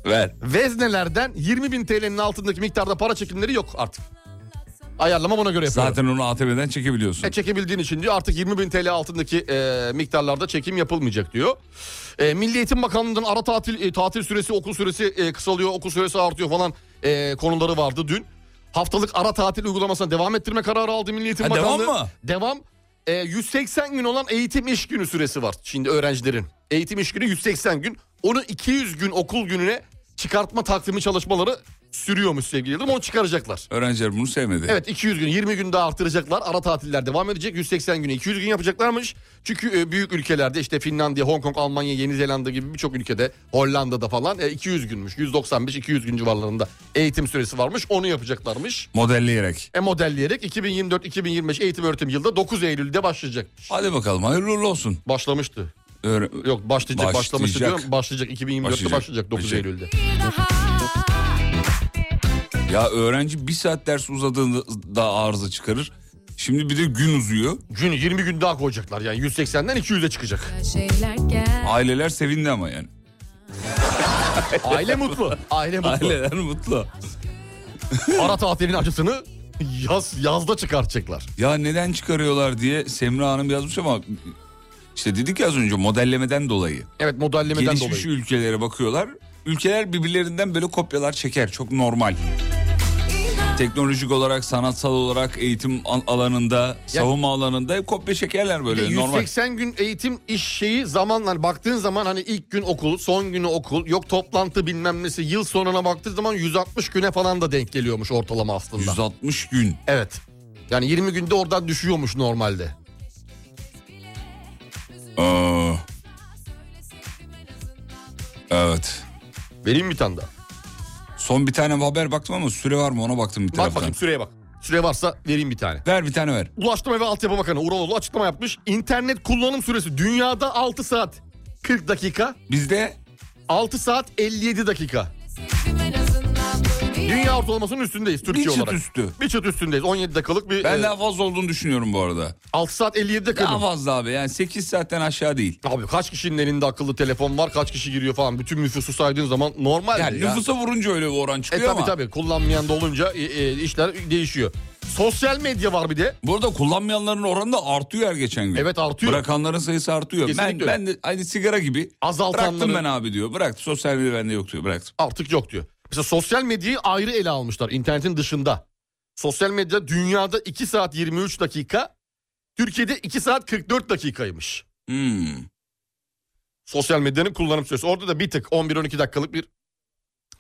Speaker 4: Ver.
Speaker 5: veznelerden 20 bin TL'nin altındaki miktarda para çekimleri yok artık. Ayarlama buna göre yapıyorum.
Speaker 4: Zaten onu ATM'den çekebiliyorsun.
Speaker 5: E, çekebildiğin için diyor artık 20 bin TL altındaki e, miktarlarda çekim yapılmayacak diyor. E, Milli Eğitim Bakanlığı'nın ara tatil e, tatil süresi okul süresi e, kısalıyor okul süresi artıyor falan e, konuları vardı dün. Haftalık ara tatil uygulamasına devam ettirme kararı aldı Milli Eğitim
Speaker 4: Ha, devam
Speaker 5: Bakanlığı.
Speaker 4: mı?
Speaker 5: Devam. E, 180 gün olan eğitim iş günü süresi var şimdi öğrencilerin. Eğitim iş günü 180 gün. Onu 200 gün okul gününe çıkartma takvimi çalışmaları sürüyormuş sevgili Yıldırım. Onu çıkaracaklar.
Speaker 4: Öğrenciler bunu sevmedi.
Speaker 5: Evet 200 gün 20 gün daha artıracaklar. Ara tatiller devam edecek. 180 güne 200 gün yapacaklarmış. Çünkü e, büyük ülkelerde işte Finlandiya, Hong Kong, Almanya, Yeni Zelanda gibi birçok ülkede Hollanda'da falan e, 200 günmüş. 195-200 gün civarlarında eğitim süresi varmış. Onu yapacaklarmış.
Speaker 4: Modelleyerek.
Speaker 5: E modelleyerek 2024-2025 eğitim öğretim yılda 9 Eylül'de başlayacakmış.
Speaker 4: Hadi bakalım hayırlı uğurlu olsun.
Speaker 5: Başlamıştı.
Speaker 4: Öğre-
Speaker 5: Yok başlayacak, başlamıştı
Speaker 4: Başlayacak.
Speaker 5: diyorum. Başlayacak 2024'te başlayacak,
Speaker 4: Başlayacak.
Speaker 5: 9
Speaker 4: Başlayacak.
Speaker 5: Eylül'de.
Speaker 4: Ya öğrenci bir saat ders uzadığında da arıza çıkarır. Şimdi bir de gün uzuyor.
Speaker 5: Gün 20 gün daha koyacaklar yani 180'den 200'e çıkacak.
Speaker 4: Aileler sevindi ama yani.
Speaker 5: Aile mutlu. Aile mutlu.
Speaker 4: Aileler mutlu.
Speaker 5: ara tatilin acısını yaz yazda çıkartacaklar.
Speaker 4: Ya neden çıkarıyorlar diye Semra Hanım yazmış ama işte dedik ya az önce modellemeden dolayı.
Speaker 5: Evet modellemeden
Speaker 4: Gelişmiş
Speaker 5: dolayı.
Speaker 4: ülkelere bakıyorlar. Ülkeler birbirlerinden böyle kopyalar çeker. Çok normal. Teknolojik olarak, sanatsal olarak, eğitim al- alanında, savunma alanında hep kopya çekerler böyle
Speaker 5: Bir de
Speaker 4: normal.
Speaker 5: 180 gün eğitim iş şeyi zamanlar baktığın zaman hani ilk gün okul, son günü okul, yok toplantı bilmem nesi yıl sonuna baktığı zaman 160 güne falan da denk geliyormuş ortalama aslında.
Speaker 4: 160 gün.
Speaker 5: Evet. Yani 20 günde oradan düşüyormuş normalde.
Speaker 4: Aa. Evet.
Speaker 5: Vereyim bir tane daha.
Speaker 4: Son bir tane haber baktım ama süre var mı ona baktım bir
Speaker 5: Bak
Speaker 4: taraftan.
Speaker 5: bakayım süreye bak. Süre varsa vereyim bir tane.
Speaker 4: Ver bir tane ver.
Speaker 5: Ulaştırma ve Altyapı Bakanı Uraloğlu açıklama yapmış. İnternet kullanım süresi dünyada 6 saat 40 dakika.
Speaker 4: Bizde
Speaker 5: 6 saat 57 dakika. Dünya ortalamasının üstündeyiz Türkiye
Speaker 4: bir çıt
Speaker 5: olarak.
Speaker 4: üstü.
Speaker 5: Bir çıt üstündeyiz. 17 dakikalık bir
Speaker 4: Ben
Speaker 5: e,
Speaker 4: daha fazla olduğunu düşünüyorum bu arada.
Speaker 5: 6 saat 57 dakika.
Speaker 4: Daha fazla abi yani 8 saatten aşağı değil.
Speaker 5: Abi kaç kişinin elinde akıllı telefon var, kaç kişi giriyor falan. Bütün nüfusu saydığın zaman normal
Speaker 4: Yani
Speaker 5: ya.
Speaker 4: nüfusa vurunca öyle bir oran
Speaker 5: E
Speaker 4: çıkıyor
Speaker 5: tabi
Speaker 4: ama.
Speaker 5: tabi kullanmayan da olunca e, e, işler değişiyor. Sosyal medya var bir de.
Speaker 4: Burada kullanmayanların oranı da artıyor her geçen gün.
Speaker 5: Evet, artıyor.
Speaker 4: Bırakanların sayısı artıyor. ben
Speaker 5: Kesinlikle öyle.
Speaker 4: ben de aynı sigara gibi.
Speaker 5: Azaltanların-
Speaker 4: Bıraktım ben abi diyor. Bıraktım. Sosyal medya bende yok diyor. Bıraktım.
Speaker 5: Artık yok diyor. Mesela sosyal medyayı ayrı ele almışlar internetin dışında. Sosyal medya dünyada 2 saat 23 dakika, Türkiye'de 2 saat 44 dakikaymış.
Speaker 4: Hmm.
Speaker 5: Sosyal medyanın kullanım süresi. Orada da bir tık 11-12 dakikalık bir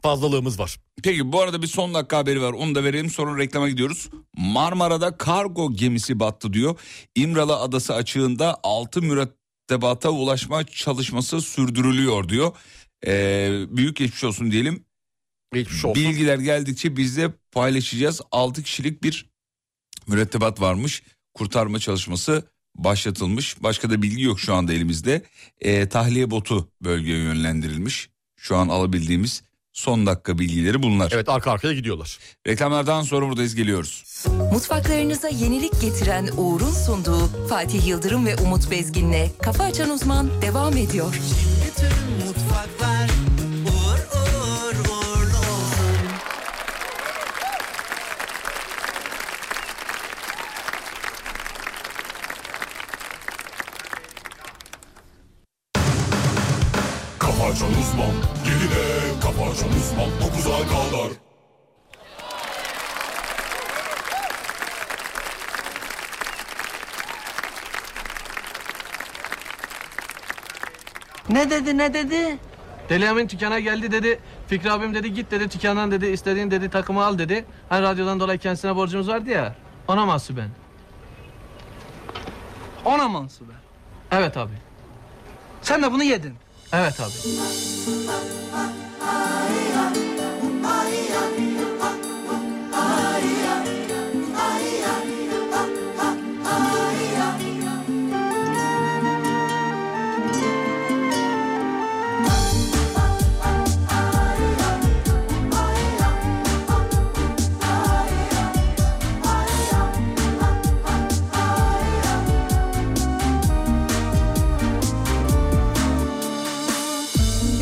Speaker 5: fazlalığımız var.
Speaker 4: Peki bu arada bir son dakika haberi var. Onu da verelim sonra reklama gidiyoruz. Marmara'da kargo gemisi battı diyor. İmralı Adası açığında 6 mürettebata ulaşma çalışması sürdürülüyor diyor. Ee, büyük geçmiş olsun diyelim.
Speaker 5: Geçmiş olsun.
Speaker 4: Bilgiler geldikçe biz de paylaşacağız. 6 kişilik bir mürettebat varmış. Kurtarma çalışması başlatılmış. Başka da bilgi yok şu anda elimizde. Ee, tahliye botu bölgeye yönlendirilmiş. Şu an alabildiğimiz son dakika bilgileri bunlar.
Speaker 5: Evet arka arkaya gidiyorlar.
Speaker 4: Reklamlardan sonra buradayız geliyoruz.
Speaker 1: Mutfaklarınıza yenilik getiren Uğur'un sunduğu Fatih Yıldırım ve Umut Bezgin'le Kafa Açan Uzman devam ediyor.
Speaker 10: Kafa açan uzman, geride kafa açan uzman, 9'a kadar.
Speaker 15: Ne dedi ne dedi?
Speaker 16: Deli Emin tükana geldi dedi. Fikri abim dedi git dedi tükandan dedi istediğin dedi takımı al dedi. Hani radyodan dolayı kendisine borcumuz vardı ya. Ona mahsuben. Ona mahsuben. Evet abi. Sen de bunu yedin. Evet abi.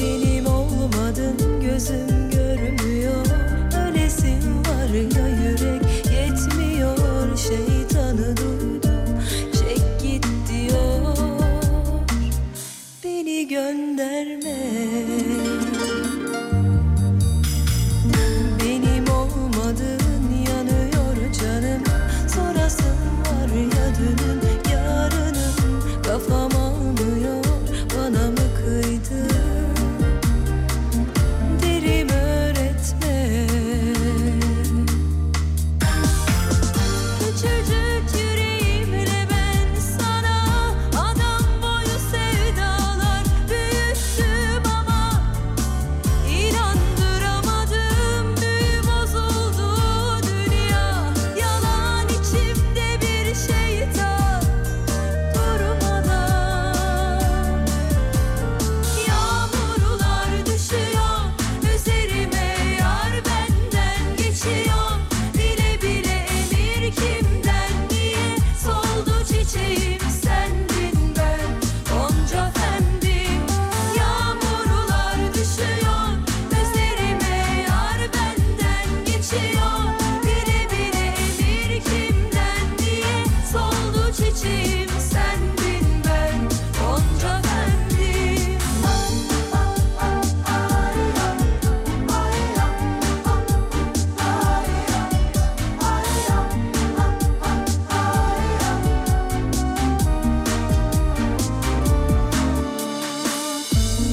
Speaker 3: Benim olmadın gözüm görmüyor Ölesin var ya yürek yetmiyor Şeytanı duydum çek git diyor Beni gönderme Benim olmadın yanıyor canım Sorasın var ya dünüm yarınım Kafam almıyor bana mı kıydın Derim öğretme Küçücük yüreğimle ben sana Adam boyu sevdalar büyüttüm ama İnandıramadım büyü bozuldu dünya Yalan içimde bir şeytan durmadan Yağmurlar düşüyor üzerime yar benden geçiyor Bile bile emir kimden niye soldu çiçeğim sendin ben Gonca fendim Yağmurlar düşüyor üzerime yar benden geçiyor Bile bile emir kimden niye soldu çiçeğim sendin ben Gonca fendim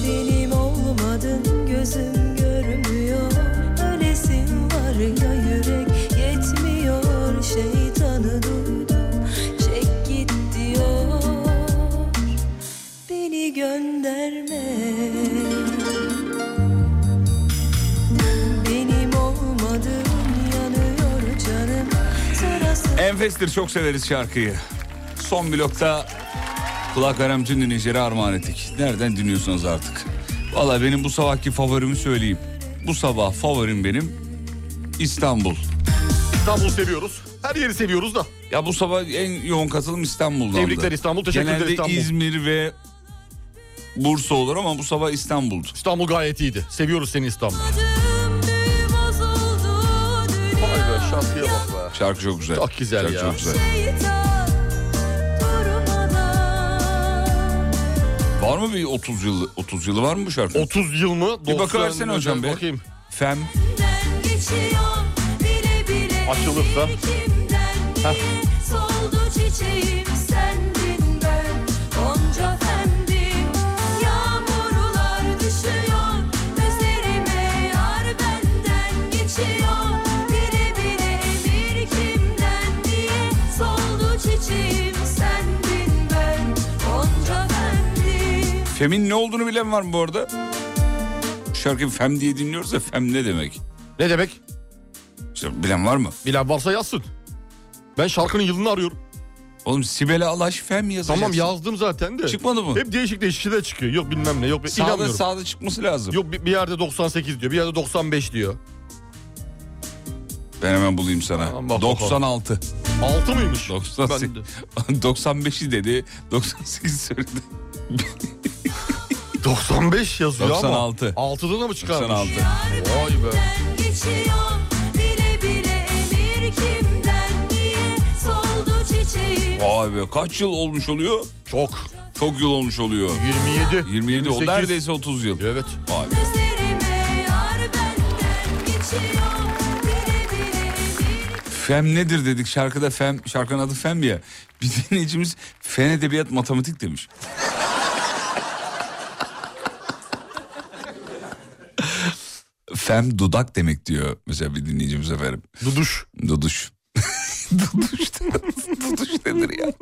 Speaker 3: Benim olmadın gözüm görmüyor Ölesin var ya yürek yetmiyor Şeytanı duydum çek git diyor Beni gönderme Benim olmadın yanıyor canım Sorasın
Speaker 4: Enfestir çok severiz şarkıyı. Son blokta kulak veren bütün dinleyicilere armağan ettik. Nereden dinliyorsunuz artık? Valla benim bu sabahki favorimi söyleyeyim. Bu sabah favorim benim İstanbul.
Speaker 5: İstanbul'u seviyoruz. Her yeri seviyoruz da.
Speaker 4: Ya bu sabah en yoğun katılım İstanbul'dandı.
Speaker 5: Tebrikler İstanbul, teşekkürler
Speaker 4: Genelde
Speaker 5: İstanbul.
Speaker 4: İzmir ve Bursa olur ama bu sabah İstanbul'du.
Speaker 5: İstanbul gayet iyiydi. Seviyoruz seni İstanbul.
Speaker 3: Adım büyü bozuldu
Speaker 5: Vay
Speaker 3: dünya
Speaker 5: be şarkıya bak be.
Speaker 4: Şarkı çok güzel.
Speaker 5: Çok güzel
Speaker 4: Şarkı
Speaker 5: ya.
Speaker 4: Çok güzel.
Speaker 3: Şeytan durmadan
Speaker 4: Var mı bir 30 yılı 30 yılı var mı bu şarkı?
Speaker 5: 30 yıl mı? 90
Speaker 4: Bir bakıversene hocam be.
Speaker 5: Bakayım.
Speaker 4: Fem.
Speaker 3: Ben geçiyorum bile bile
Speaker 5: Açılırsa.
Speaker 3: elleri kimden niye Soldu çiçeğim sendin ben Gonca
Speaker 4: Fem'in ne olduğunu bilen var mı bu arada? Bu şarkıyı Fem diye dinliyoruz da Fem ne demek?
Speaker 5: Ne demek?
Speaker 4: İşte bilen var mı?
Speaker 5: Bilen varsa yazsın. Ben şarkının yılını arıyorum.
Speaker 4: Oğlum Sibel Alaş Fem yazacaksın.
Speaker 5: Tamam yazdım zaten de.
Speaker 4: Çıkmadı mı?
Speaker 5: Hep değişik değişik şeyler çıkıyor. Yok bilmem ne yok. ben
Speaker 4: Sağda,
Speaker 5: inanmıyorum.
Speaker 4: sağda çıkması lazım.
Speaker 5: Yok bir bir yerde 98 diyor. Bir yerde 95 diyor.
Speaker 4: Ben hemen bulayım sana.
Speaker 5: Tamam, bak,
Speaker 4: 96.
Speaker 5: 6 mıymış?
Speaker 4: 98.
Speaker 5: Ben de-
Speaker 4: 95'i dedi. 98 söyledi.
Speaker 5: 95 yazıyor
Speaker 4: 96.
Speaker 5: ama. 6'dan da mı çıkarmış?
Speaker 4: 96.
Speaker 5: Vay be.
Speaker 3: geçiyor bile bile emir kimden diye soldu çiçeğim.
Speaker 4: Vay be kaç yıl olmuş oluyor?
Speaker 5: Çok.
Speaker 4: Çok yıl olmuş oluyor.
Speaker 5: 27.
Speaker 4: 27 o
Speaker 5: 28.
Speaker 4: neredeyse 30 yıl.
Speaker 5: Evet.
Speaker 4: Vay be.
Speaker 3: Gözlerime yar benden geçiyor bile bile emir
Speaker 4: Fem nedir dedik şarkıda Fem şarkının adı Fem ya. Bir dinleyicimiz fen edebiyat matematik demiş. Fem dudak demek diyor mesela bir dinleyicimiz efendim.
Speaker 5: Duduş.
Speaker 4: Duduş. Duduş, Duduş nedir ya?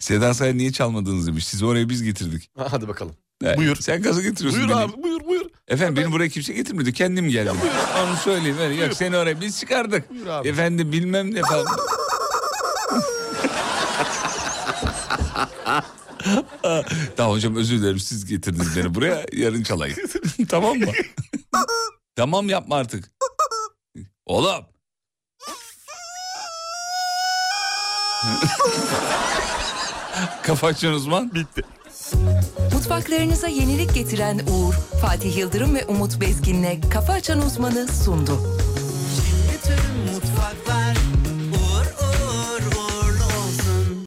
Speaker 4: Seda Sayan niye çalmadınız demiş. Sizi oraya biz getirdik.
Speaker 5: Ha, Hadi bakalım.
Speaker 4: Yani
Speaker 5: Buyur.
Speaker 4: Sen gaza getiriyorsun
Speaker 5: Buyur
Speaker 4: beni.
Speaker 5: abi buyur buyur.
Speaker 4: Efendim beni buraya kimse getirmedi. Kendim geldim. Onu söyleyeyim. öyle. Yok seni oraya biz çıkardık.
Speaker 5: Buyur abi.
Speaker 4: Efendim bilmem ne falan. tamam hocam özür dilerim siz getirdiniz beni buraya yarın çalayım. tamam mı? tamam yapma artık. Oğlum. Kafa açan uzman.
Speaker 5: Bitti.
Speaker 1: Mutfaklarınıza yenilik getiren Uğur, Fatih Yıldırım ve Umut Bezgin'le Kafa Açan Uzman'ı sundu.